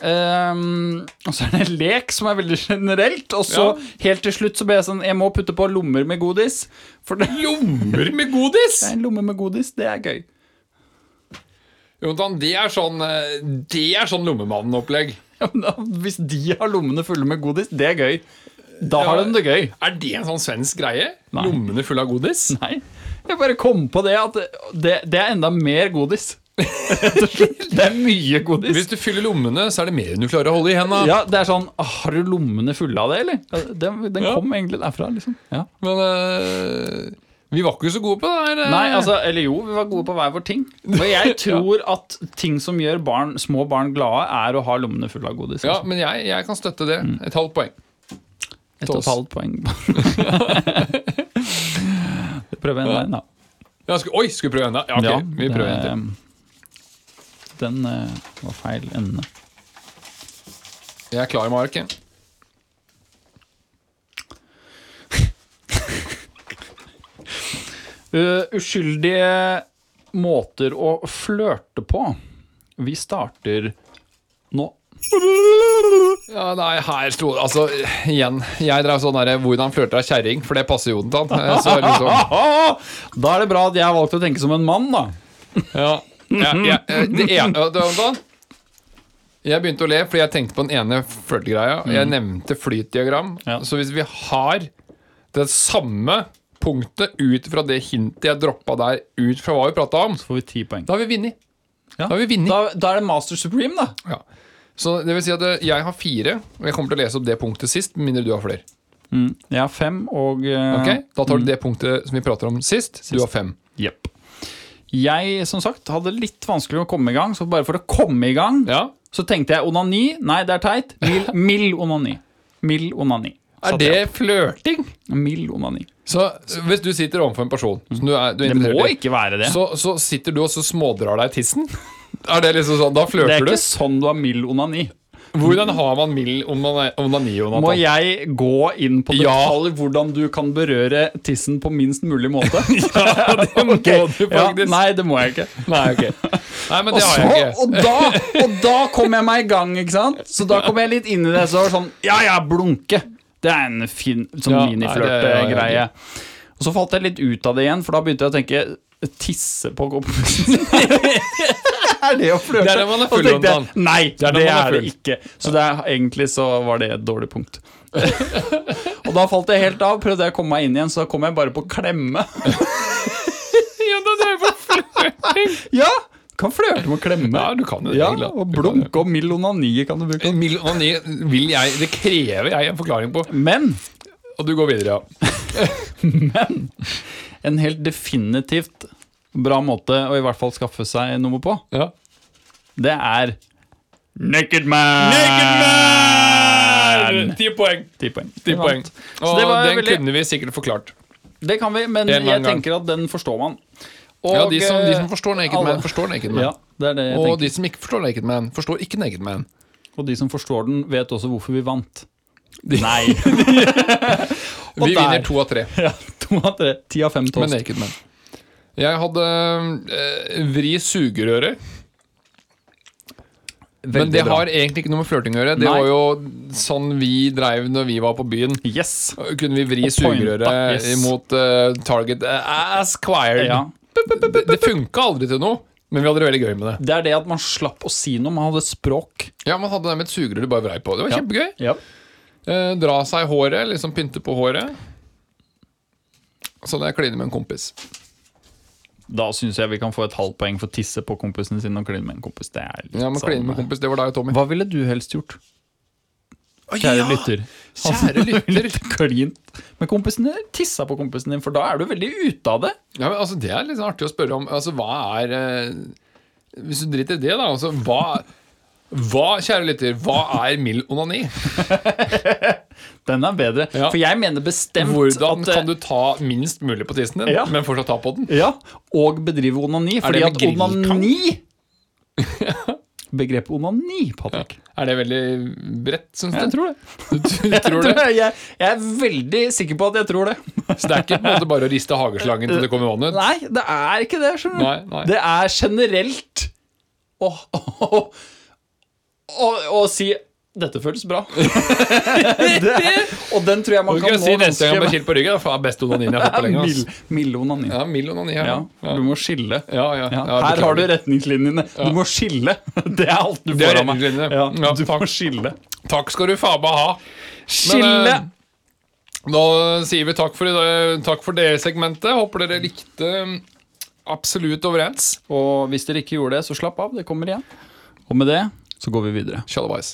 Speaker 2: Ehm, og så er det lek, som er veldig generelt. Og så helt til slutt så ble jeg sånn Jeg må putte på lommer med godis. For det det
Speaker 1: Lommer med godis!
Speaker 2: er en lomme med godis. Det er gøy.
Speaker 1: Jonathan, det er sånn eh, Det er sånn lommemannen-opplegg.
Speaker 2: Ja, men da, hvis de har lommene fulle med godis, det er gøy. Da har de det gøy.
Speaker 1: Er det en sånn svensk greie?
Speaker 2: Nei.
Speaker 1: Lommene fulle av godis?
Speaker 2: Nei. Jeg bare kom på det at det, det er enda mer godis. Rett og slett. Det er mye godis.
Speaker 1: Hvis du fyller lommene, så er det mer enn du klarer å holde i henda.
Speaker 2: Ja, det er sånn «Åh, Har du lommene fulle av det, eller? Ja, Den, den
Speaker 1: Ja.
Speaker 2: kom egentlig derfra, liksom. Ja.
Speaker 1: Men eh, vi var ikke så gode på det her. eh.
Speaker 2: Nei, altså, eller jo, vi var gode på hver vår ting. For jeg tror at ting som gjør barn, små barn glade, er å ha lommene fulle av godis.
Speaker 1: Ja,
Speaker 2: altså.
Speaker 1: men jeg, jeg kan støtte det.
Speaker 2: Mm.
Speaker 1: Et halvt poeng.
Speaker 2: Et og
Speaker 1: oss.
Speaker 2: et halvt poeng. Prøv en veien, da.
Speaker 1: Ja, sku, oi, skulle vi prøve enda? Ja, ok, vi
Speaker 2: det-
Speaker 1: prøver en til.
Speaker 2: Den eh, var feil ende.
Speaker 1: Jeg er klar med arket.
Speaker 2: Uh, uskyldige måter å flørte på. Vi starter nå.
Speaker 1: Ja, nei, her sto Altså, igjen. Jeg drev sånn derre 'Hvordan flørter ei kjerring?' For det passer Jonathan. Eh, Så liksom
Speaker 2: Ah, Da er det bra at jeg har valgt å tenke som en mann, da.
Speaker 1: Ja. ja, ja eh, det ene ja, det- Jonathan. Jeg begynte å le fordi jeg tenkte på den ene flørtegreia. Jeg nevnte flytdiagram.
Speaker 2: Ja.
Speaker 1: Så hvis vi har det samme punktet ut fra det hintet jeg droppa der, ut fra hva vi prata om,
Speaker 2: Så får vi ti poeng.
Speaker 1: da har vi vunnet.
Speaker 2: Ja.
Speaker 1: Da har vi vunnet.
Speaker 2: Da, da er det Master Supreme, da.
Speaker 1: Ja. Så det vil si at eh, jeg har fire, og jeg kommer til å lese opp det punktet sist, med mindre du har flere.
Speaker 2: Jeg har fem, og eh,
Speaker 1: Ok? Da tar du det punktet som vi prater om sist, du har fem.
Speaker 2: jepp. Jeg som sagt, hadde litt vanskelig med å komme i gang, så bare for å komme i gang
Speaker 1: Ja.
Speaker 2: så tenkte jeg onani. Nei, det er teit. Mild, mild onani. Mild onani.
Speaker 1: Er det flørting?
Speaker 2: Mild onani.
Speaker 1: Så eh, hvis du sitter overfor en person som du er, du er
Speaker 2: Det må
Speaker 1: interessert i,
Speaker 2: ikke være det.
Speaker 1: så, så sitter du og så smådrar deg i tissen? Er det liksom sånn, Da
Speaker 2: det er
Speaker 1: flørter
Speaker 2: ikke
Speaker 1: du?
Speaker 2: sånn du har mild onani.
Speaker 1: Hvordan har man mild onani, onani, Jonathan?
Speaker 2: Må jeg gå inn på
Speaker 1: Ja.
Speaker 2: detalj hvordan du kan berøre tissen på minst mulig måte?
Speaker 1: Ja, det må du
Speaker 2: Ja,
Speaker 1: faktisk.
Speaker 2: nei, det må jeg ikke.
Speaker 1: Nei, ok. Nei, men det
Speaker 2: og,
Speaker 1: har
Speaker 2: så,
Speaker 1: jeg ikke.
Speaker 2: og, da, og da kom jeg meg i gang, ikke sant? Så da kom jeg litt inn i det, så var det sånn Ja, ja, blunke. Det er en fin sånn
Speaker 1: Ja, nei, det- ja, ja,
Speaker 2: miniflørte-greie. Og så falt jeg litt ut av det igjen, for da begynte jeg å tenke Tisse på kompisen. er det å flørte?
Speaker 1: Det er når man er full,
Speaker 2: Og tenkte jeg,
Speaker 1: Jonathan.
Speaker 2: Nei, det
Speaker 1: er
Speaker 2: er
Speaker 1: når
Speaker 2: det,
Speaker 1: man er
Speaker 2: ikke. Så det er, egentlig så var det et dårlig punkt. og da falt jeg helt av. Prøvde jeg å komme meg inn igjen, så da kom jeg bare på klemme. ja, kan flørte med å klemme.
Speaker 1: Ja, du kan jo det,
Speaker 2: Ja,
Speaker 1: egentlig.
Speaker 2: og
Speaker 1: Du kan
Speaker 2: blunk og mild onani kan du bruke.
Speaker 1: Milonani vil jeg Det krever jeg en forklaring på.
Speaker 2: Men
Speaker 1: Og du går videre, ja.
Speaker 2: en helt definitivt bra måte å i hvert fall skaffe seg noe på,
Speaker 1: ja.
Speaker 2: det er Naked man!
Speaker 1: Er- Ti poeng.
Speaker 2: Ti poeng.
Speaker 1: Ti poeng.
Speaker 2: Så
Speaker 1: Og
Speaker 2: det var
Speaker 1: den
Speaker 2: veldig
Speaker 1: kunne vi sikkert forklart.
Speaker 2: Det kan vi, men
Speaker 1: En eller
Speaker 2: jeg
Speaker 1: annen gang.
Speaker 2: tenker at den forstår man.
Speaker 1: Ja,
Speaker 2: Og, eh,
Speaker 1: de som, de som forstår
Speaker 2: alle.
Speaker 1: Naked Man, forstår Naked Man.
Speaker 2: Ja, det er det jeg
Speaker 1: Og
Speaker 2: tenker.
Speaker 1: de som ikke forstår Naked Man, forstår ikke Naked Man.
Speaker 2: Og de som forstår den, vet også hvorfor vi vant.
Speaker 1: De-
Speaker 2: Nei.
Speaker 1: Vi
Speaker 2: der.
Speaker 1: vinner to av tre
Speaker 2: ja, to av tre. Ti av fem
Speaker 1: med
Speaker 2: toast.
Speaker 1: Naked Man. Jeg hadde eh, vri sugerøret, men
Speaker 2: Veldig
Speaker 1: det
Speaker 2: bra.
Speaker 1: har egentlig ikke noe med flørting å gjøre. Det
Speaker 2: Nei.
Speaker 1: var jo sånn vi dreiv når vi var på byen.
Speaker 2: Yes.
Speaker 1: Kunne vi vri
Speaker 2: Og pointa,
Speaker 1: sugerøret
Speaker 2: yes.
Speaker 1: mot eh, target eh, Asquire?
Speaker 2: Ja.
Speaker 1: Det, det funka aldri til noe, men vi hadde det veldig gøy med det.
Speaker 2: Det er det at man slapp å si noe. Man hadde språk.
Speaker 1: Ja, Man hadde det med et sugerør du bare vrei på. Det var
Speaker 2: Ja.
Speaker 1: kjempegøy.
Speaker 2: Ja.
Speaker 1: Eh, dra seg i håret, liksom pynte på håret. Så hadde jeg klinet med en kompis.
Speaker 2: Da syns jeg vi kan få et halvt poeng for tisse på kompisene sine og kline med en kompis. Det er litt
Speaker 1: Ja, men kline med
Speaker 2: sånn-
Speaker 1: kompis, Det var deg og Tommy.
Speaker 2: Hva ville du helst gjort? Kjære lytter.
Speaker 1: Kjære lytter.
Speaker 2: Klint med kompisen din. Tissa på kompisen din, for da er du veldig ute av det.
Speaker 1: Ja, men altså, Det er litt sånn artig å spørre om. Altså, Hva er eh, Hvis du driter i det, da. Altså, hva, hva, kjære lytter, hva er mild onani?
Speaker 2: Den er bedre.
Speaker 1: Ja.
Speaker 2: For jeg mener bestemt
Speaker 1: Hvordan
Speaker 2: at eh,
Speaker 1: kan du ta minst mulig på tissen din,
Speaker 2: Ja.
Speaker 1: men fortsatt ta på den?
Speaker 2: Ja, og bedrive onani. Fordi
Speaker 1: med
Speaker 2: at
Speaker 1: grilltang?
Speaker 2: onani Begrepet onani, Patrick.
Speaker 1: Er det veldig bredt, syns du? Jeg tror det. Du, du tror
Speaker 2: Jeg,
Speaker 1: det?
Speaker 2: tror- jeg, jeg er veldig sikker på at jeg tror det.
Speaker 1: Så det er ikke på en måte bare å riste hageslangen til det kommer vann ut?
Speaker 2: Nei, det er ikke det. skjønner du.
Speaker 1: Nei, nei.
Speaker 2: Det er generelt å, å, å, å, å si 'dette føles bra'. det er, og den tror jeg man
Speaker 1: Du
Speaker 2: kan
Speaker 1: kan
Speaker 2: nå
Speaker 1: si neste gang jeg blir
Speaker 2: ganske-
Speaker 1: kilt på ryggen. Faen, beste onanien jeg har fått på lenge. ass.
Speaker 2: Mild, mild onani.
Speaker 1: Ja, mild onani. Ja.
Speaker 2: Ja,
Speaker 1: Ja.
Speaker 2: du må skille.
Speaker 1: Ja, ja,
Speaker 2: Ja,
Speaker 1: ja,
Speaker 2: her
Speaker 1: beklager.
Speaker 2: har du retningslinjene. Du må skille. Det er alt du
Speaker 1: Det er
Speaker 2: får av meg.
Speaker 1: retningslinjene.
Speaker 2: Ja,
Speaker 1: Ja,
Speaker 2: du
Speaker 1: takk.
Speaker 2: må skille.
Speaker 1: Takk skal du faen meg ha.
Speaker 2: Skille!
Speaker 1: eh, Da sier vi takk for, i dag- takk for det segmentet. Håper dere likte mm, absolutt overens.
Speaker 2: Og hvis dere ikke gjorde det, så slapp av. Det kommer igjen. Og med det så går vi videre.
Speaker 1: Shalabais.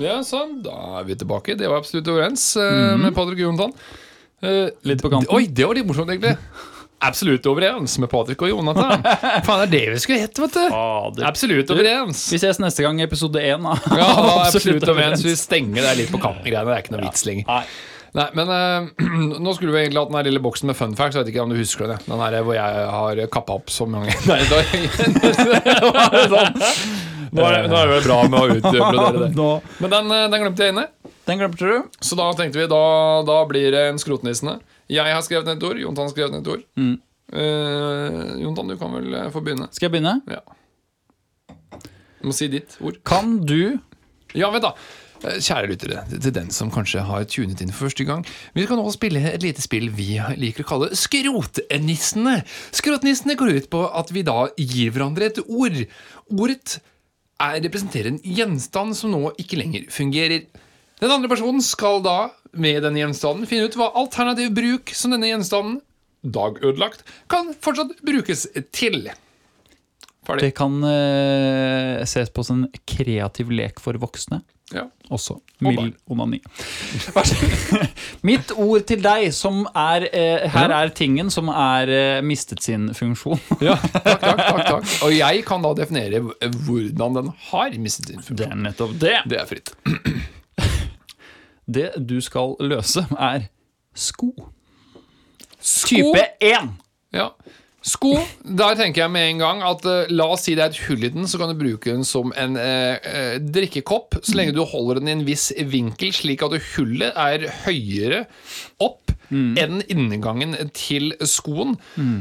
Speaker 1: Ja, sånn. Da er vi tilbake. Det var absolutt overens eh, med Patrick og Jonathan. Eh,
Speaker 2: Litt på kanten.
Speaker 1: Oi, det var litt morsomt, egentlig. Absolutt overens med Patrick og Jonathan. Faen, det er det vi skulle hett, vet du. Absolutt overens.
Speaker 2: Vi ses neste gang i episode én av
Speaker 1: Ja,
Speaker 2: av
Speaker 1: absolutt overens. Vi stenger der litt på kanten-greiene. Det er ikke noe vits lenger.
Speaker 2: Nei.
Speaker 1: Nei, men eh, nå skulle vi egentlig hatt den der lille boksen med fun facts. Jeg vet ikke om du husker det. Den der hvor jeg har kappa opp så mange Nei, da, nå er det sånn. Nå er, det- nå er det vel bra med å utbrodere det.
Speaker 2: Nå,
Speaker 1: Men den, eh, den glemte jeg inne.
Speaker 2: den glemte du.
Speaker 1: Så da tenkte vi, da, da blir det en skrotnissene. Jeg har skrevet ned et ord, Jontan har skrevet ned et ord. Eh, Jontan, du kan vel eh, få begynne.
Speaker 2: Skal jeg begynne?
Speaker 1: Ja. Du må si ditt ord.
Speaker 2: Kan du
Speaker 1: Ja, vent da. Eh, Kjære lyttere, til den som kanskje har tunet inn for første gang. Vi skal nå spille et lite spill vi liker å kalle Skrotnissene. Skrotnissene går ut på at vi da gir hverandre et ord. Ordet er, representerer en gjenstand som nå ikke lenger fungerer. Den andre personen skal da med denne gjenstanden finne ut hva alternativ bruk som denne gjenstanden, dag ødelagt, kan fortsatt brukes til.
Speaker 2: Det
Speaker 1: Ferdig.
Speaker 2: kan eh, ses på som en kreativ lek for voksne.
Speaker 1: Ja.
Speaker 2: Også
Speaker 1: barn.
Speaker 2: mild onani. Vær så god. Mitt ord til deg, som er eh, Her er tingen som er eh, mistet sin funksjon.
Speaker 1: Takk, takk, takk, takk. Og jeg kan da definere hvordan den har mistet sin funksjon.
Speaker 2: Det er nettopp det.
Speaker 1: Det er fritt.
Speaker 2: Det du skal løse, er sko. Type 1.
Speaker 1: Ja. Sko, der tenker jeg med en gang at eh, la oss si det er et hull i den, så kan du bruke den som en eh, eh, drikkekopp, så lenge du holder den i en viss vinkel, slik at hullet er høyere opp enn inngangen til skoen.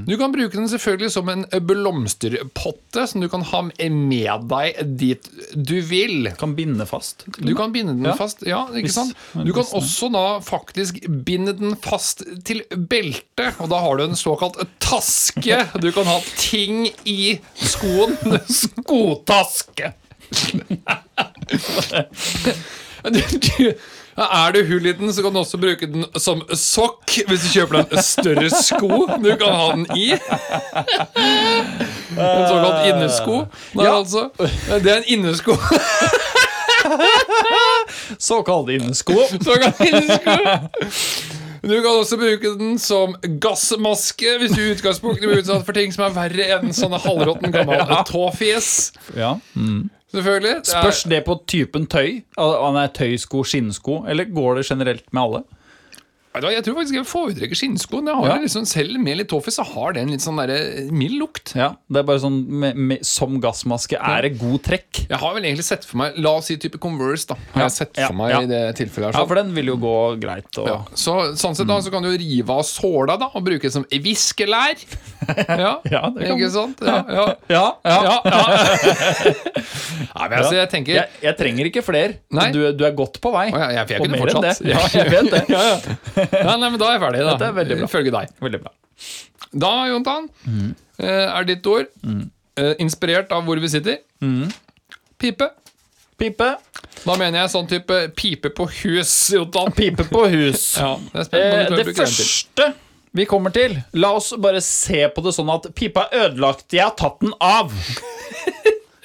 Speaker 1: Du kan bruke den selvfølgelig som en eh, blomsterpotte som du kan ha med deg dit du vil.
Speaker 2: Kan binde fast. til og
Speaker 1: Du
Speaker 2: med.
Speaker 1: kan binde den
Speaker 2: Mm. Ja.
Speaker 1: fast. Ja, ikke
Speaker 2: Hvis-
Speaker 1: sant?
Speaker 2: men
Speaker 1: Du kan
Speaker 2: hvis den-
Speaker 1: også da faktisk binde den fast til beltet, og da har du en såkalt taske. Du kan ha ting i skoen. Skotaske! Du, du, er det hull i den, så kan du også bruke den som sokk hvis du kjøper deg en større sko du kan ha den i. En såkalt innesko. Det er, altså, det er en innesko.
Speaker 2: Såkalt innesko.
Speaker 1: Så kan innesko. Du kan også bruke den som gassmaske hvis du i utgangspunktet blir utsatt for ting som er verre enn sånne halvråtten gammel tåfjes.
Speaker 2: Ja.
Speaker 1: Selvfølgelig. Det er-
Speaker 2: Spørs det på typen tøy? Al- Han er tøysko, skinnsko, eller går det generelt med alle?
Speaker 1: Vet du hva, Jeg tror faktisk jeg foretrekker skinnskoen. Jeg har
Speaker 2: Ja.
Speaker 1: jo liksom, selv med litt tåfis så har den litt sånn der mild lukt.
Speaker 2: Ja, det er bare sånn med, med, Som gassmaske er det god trekk.
Speaker 1: Jeg har vel egentlig sett for meg La oss si type Converse, da. Har
Speaker 2: Ja.
Speaker 1: jeg sett for
Speaker 2: Ja.
Speaker 1: meg
Speaker 2: Ja.
Speaker 1: i det tilfellet her
Speaker 2: Ja,
Speaker 1: sånn.
Speaker 2: for Mm. den vil jo gå greit. Og,
Speaker 1: Ja. Så, sånn sett da, så kan du rive av såla da, og bruke det som viskelær. Ja,
Speaker 2: Ja, det kan
Speaker 1: ikke
Speaker 2: du.
Speaker 1: sant? Ja, ja.
Speaker 2: Ja,
Speaker 1: Ja, ja. Nei, men altså, jeg tenker
Speaker 2: Jeg, jeg trenger ikke flere.
Speaker 1: Nei.
Speaker 2: Du, du er godt på vei.
Speaker 1: Å, ja, jeg- jeg
Speaker 2: Og
Speaker 1: kunne
Speaker 2: mer enn
Speaker 1: fortsatt.
Speaker 2: det. Ja, jeg vet det.
Speaker 1: ja, nei, men Da er jeg ferdig, da.
Speaker 2: Dette er veldig bra.
Speaker 1: Ifølge deg.
Speaker 2: Veldig bra.
Speaker 1: Da, Jontan, eh, er ditt ord eh, inspirert av hvor vi sitter. Pipe.
Speaker 2: Pipe.
Speaker 1: Da mener jeg sånn type pipe på hus, Jontan.
Speaker 2: Pipe på hus.
Speaker 1: Ja, det er spennende.
Speaker 2: Eh,
Speaker 1: om du klarer å
Speaker 2: det
Speaker 1: bruke den til.
Speaker 2: første vi kommer til La oss bare se på det sånn at pipa er ødelagt. Jeg har tatt den av.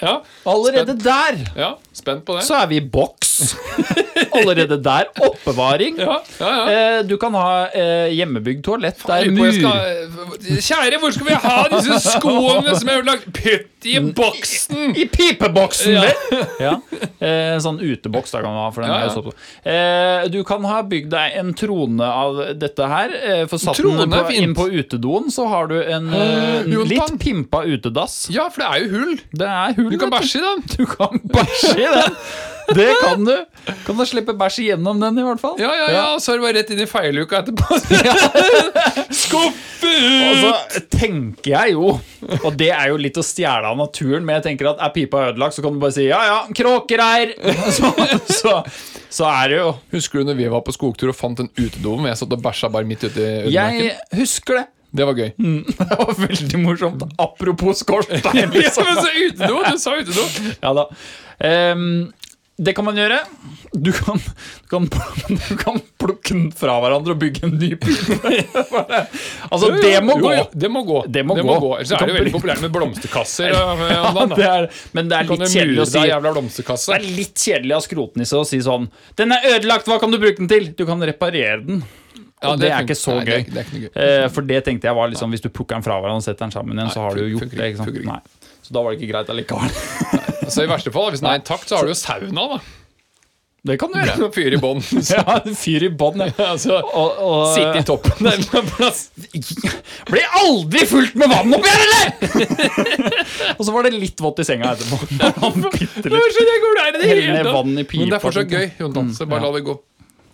Speaker 1: Ja,
Speaker 2: Allerede der
Speaker 1: ja, spent på det.
Speaker 2: så er vi i boks. Allerede der. Oppbevaring.
Speaker 1: Ja, ja, ja.
Speaker 2: Eh, du kan ha eh, hjemmebygd toalett. Det er
Speaker 1: Lurer på, jeg
Speaker 2: mur.
Speaker 1: skal- Kjære, hvor skal vi ha disse skoene som er ødelagt? Putt i boksen!
Speaker 2: I pipeboksen,
Speaker 1: Ja.
Speaker 2: vel! Ja. Eh, sånn uteboks da kan du ha. For den
Speaker 1: Ja,
Speaker 2: er
Speaker 1: ja.
Speaker 2: jo så- eh, du kan ha bygd deg en trone av dette her. Eh, for satt
Speaker 1: Trone
Speaker 2: den
Speaker 1: er
Speaker 2: på,
Speaker 1: fint.
Speaker 2: inn på utedoen, så har du en eh,
Speaker 1: Jonathan.
Speaker 2: litt pimpa utedass.
Speaker 1: Ja, for det er jo hull.
Speaker 2: Det er hull.
Speaker 1: Du kan
Speaker 2: vet
Speaker 1: bæsje i den.
Speaker 2: Du kan bæsje i den! Det kan du. Kan du slippe bæsj igjennom den, i hvert fall.
Speaker 1: Ja, ja, ja, og så er det bare rett inn i feiluka etterpå. Skuffe ut!
Speaker 2: Og så Altså, tenker jeg jo, og det er jo litt å stjele av naturen, men jeg tenker at er pipa ødelagt, så kan du bare si ja ja, kråker her! Så, så, så er det jo
Speaker 1: Husker du når vi var på skogtur og fant en utedo hvor jeg satt og bæsja bare midt ute i ødemarken?
Speaker 2: Jeg Hmm. husker det.
Speaker 1: Det var gøy.
Speaker 2: Det var veldig morsomt. Apropos skorstein,
Speaker 1: Ja, men
Speaker 2: liksom.
Speaker 1: så utedo! Du sa utedo.
Speaker 2: Ja da. Ehm, det kan man gjøre. Du kan, du, kan, du kan plukke den fra hverandre og bygge en ny pipe. Altså, det må
Speaker 1: Jo,
Speaker 2: gå.
Speaker 1: jo, Det må gå.
Speaker 2: Det må gå.
Speaker 1: Ellers er det jo veldig populært med blomsterkasser. og-
Speaker 2: Ja,
Speaker 1: og sånn,
Speaker 2: det
Speaker 1: da.
Speaker 2: er, men det er
Speaker 1: Kan du
Speaker 2: litt kjedelig
Speaker 1: mure
Speaker 2: å si.
Speaker 1: deg jævla
Speaker 2: Det
Speaker 1: blomsterkasse?
Speaker 2: er litt kjedelig av skrotnisse å si sånn Den er ødelagt, hva kan du bruke den til? Du kan reparere den.
Speaker 1: Ja,
Speaker 2: Og det, er
Speaker 1: funker-
Speaker 2: ikke så
Speaker 1: nei,
Speaker 2: gøy.
Speaker 1: Det, er- det er ikke noe gøy.
Speaker 2: Eh, for det tenkte jeg var liksom hvis du plukker den fra hverandre og setter den sammen igjen, så har du jo
Speaker 1: funker
Speaker 2: gjort det.
Speaker 1: ikke,
Speaker 2: Ikke sant?
Speaker 1: funker ikke.
Speaker 2: Nei. Så da var det ikke greit allikevel.
Speaker 1: Så i verste fall, hvis den er intakt, så har du jo sauna, da.
Speaker 2: Det kan du gjøre.
Speaker 1: Fyr i bånn.
Speaker 2: Ja, en fyr i bånn, ja.
Speaker 1: Altså,
Speaker 2: Og, og,
Speaker 1: sitte i toppen der.
Speaker 2: Blir aldri fullt med vann oppi her, eller?! og så var det litt vått i senga etterpå. Han bitte litt.
Speaker 1: skjønner jeg hvor det er i liksom. Mm, det
Speaker 2: Hell ned
Speaker 1: hele tatt.
Speaker 2: vann i pipa.
Speaker 1: Men det er fortsatt
Speaker 2: og sånt.
Speaker 1: gøy, Jontan, så bare la det gå.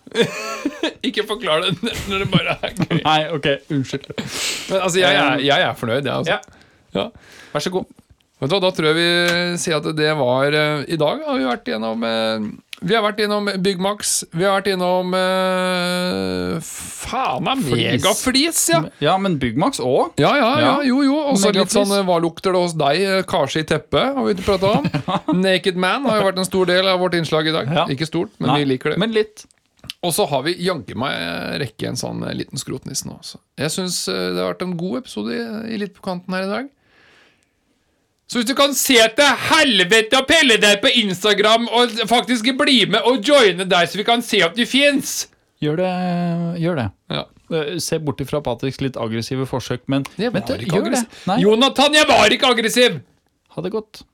Speaker 1: ikke forklar det når det bare er gøy.
Speaker 2: Nei, ok, unnskyld.
Speaker 1: Men altså, jeg, er- jeg er fornøyd, jeg, altså.
Speaker 2: Ja.
Speaker 1: Ja.
Speaker 2: Vær så god.
Speaker 1: Vet du hva, da tror jeg vi sier at det var eh, I dag har vi vært gjennom eh, Vi har vært gjennom Byggmax, vi har vært gjennom eh, Faen meg
Speaker 2: Flis.
Speaker 1: megaflis, ja!
Speaker 2: Ja, men Byggmax òg.
Speaker 1: Ja, ja, ja,
Speaker 2: Ja.
Speaker 1: jo, jo. Og så litt
Speaker 2: Megaflis.
Speaker 1: sånn eh, Hva lukter det hos deg? eh, Karse i teppet har vi ikke prata om. Naked Man har jo vært en stor del av vårt innslag i dag.
Speaker 2: Ja.
Speaker 1: Ikke stort, men
Speaker 2: Nei,
Speaker 1: vi liker det.
Speaker 2: Men litt.
Speaker 1: Og så har vi jaggu meg eh, rekke en sånn eh, liten skrotnisse nå. Så jeg syns det har vært en god episode i- i Litt på kanten her i dag. Så hvis du kan se til helvete og pelle deg på Instagram og faktisk bli med og joine der, så vi kan se at du fins!
Speaker 2: Gjør det. Gjør det.
Speaker 1: Ja.
Speaker 2: Eh, Se bort ifra Patriks litt aggressive forsøk, men
Speaker 1: Jeg var
Speaker 2: Vet du,
Speaker 1: ikke
Speaker 2: gjør det.
Speaker 1: aggressiv.
Speaker 2: Nei,
Speaker 1: Jonathan, jeg var ikke aggressiv!
Speaker 2: ha det godt.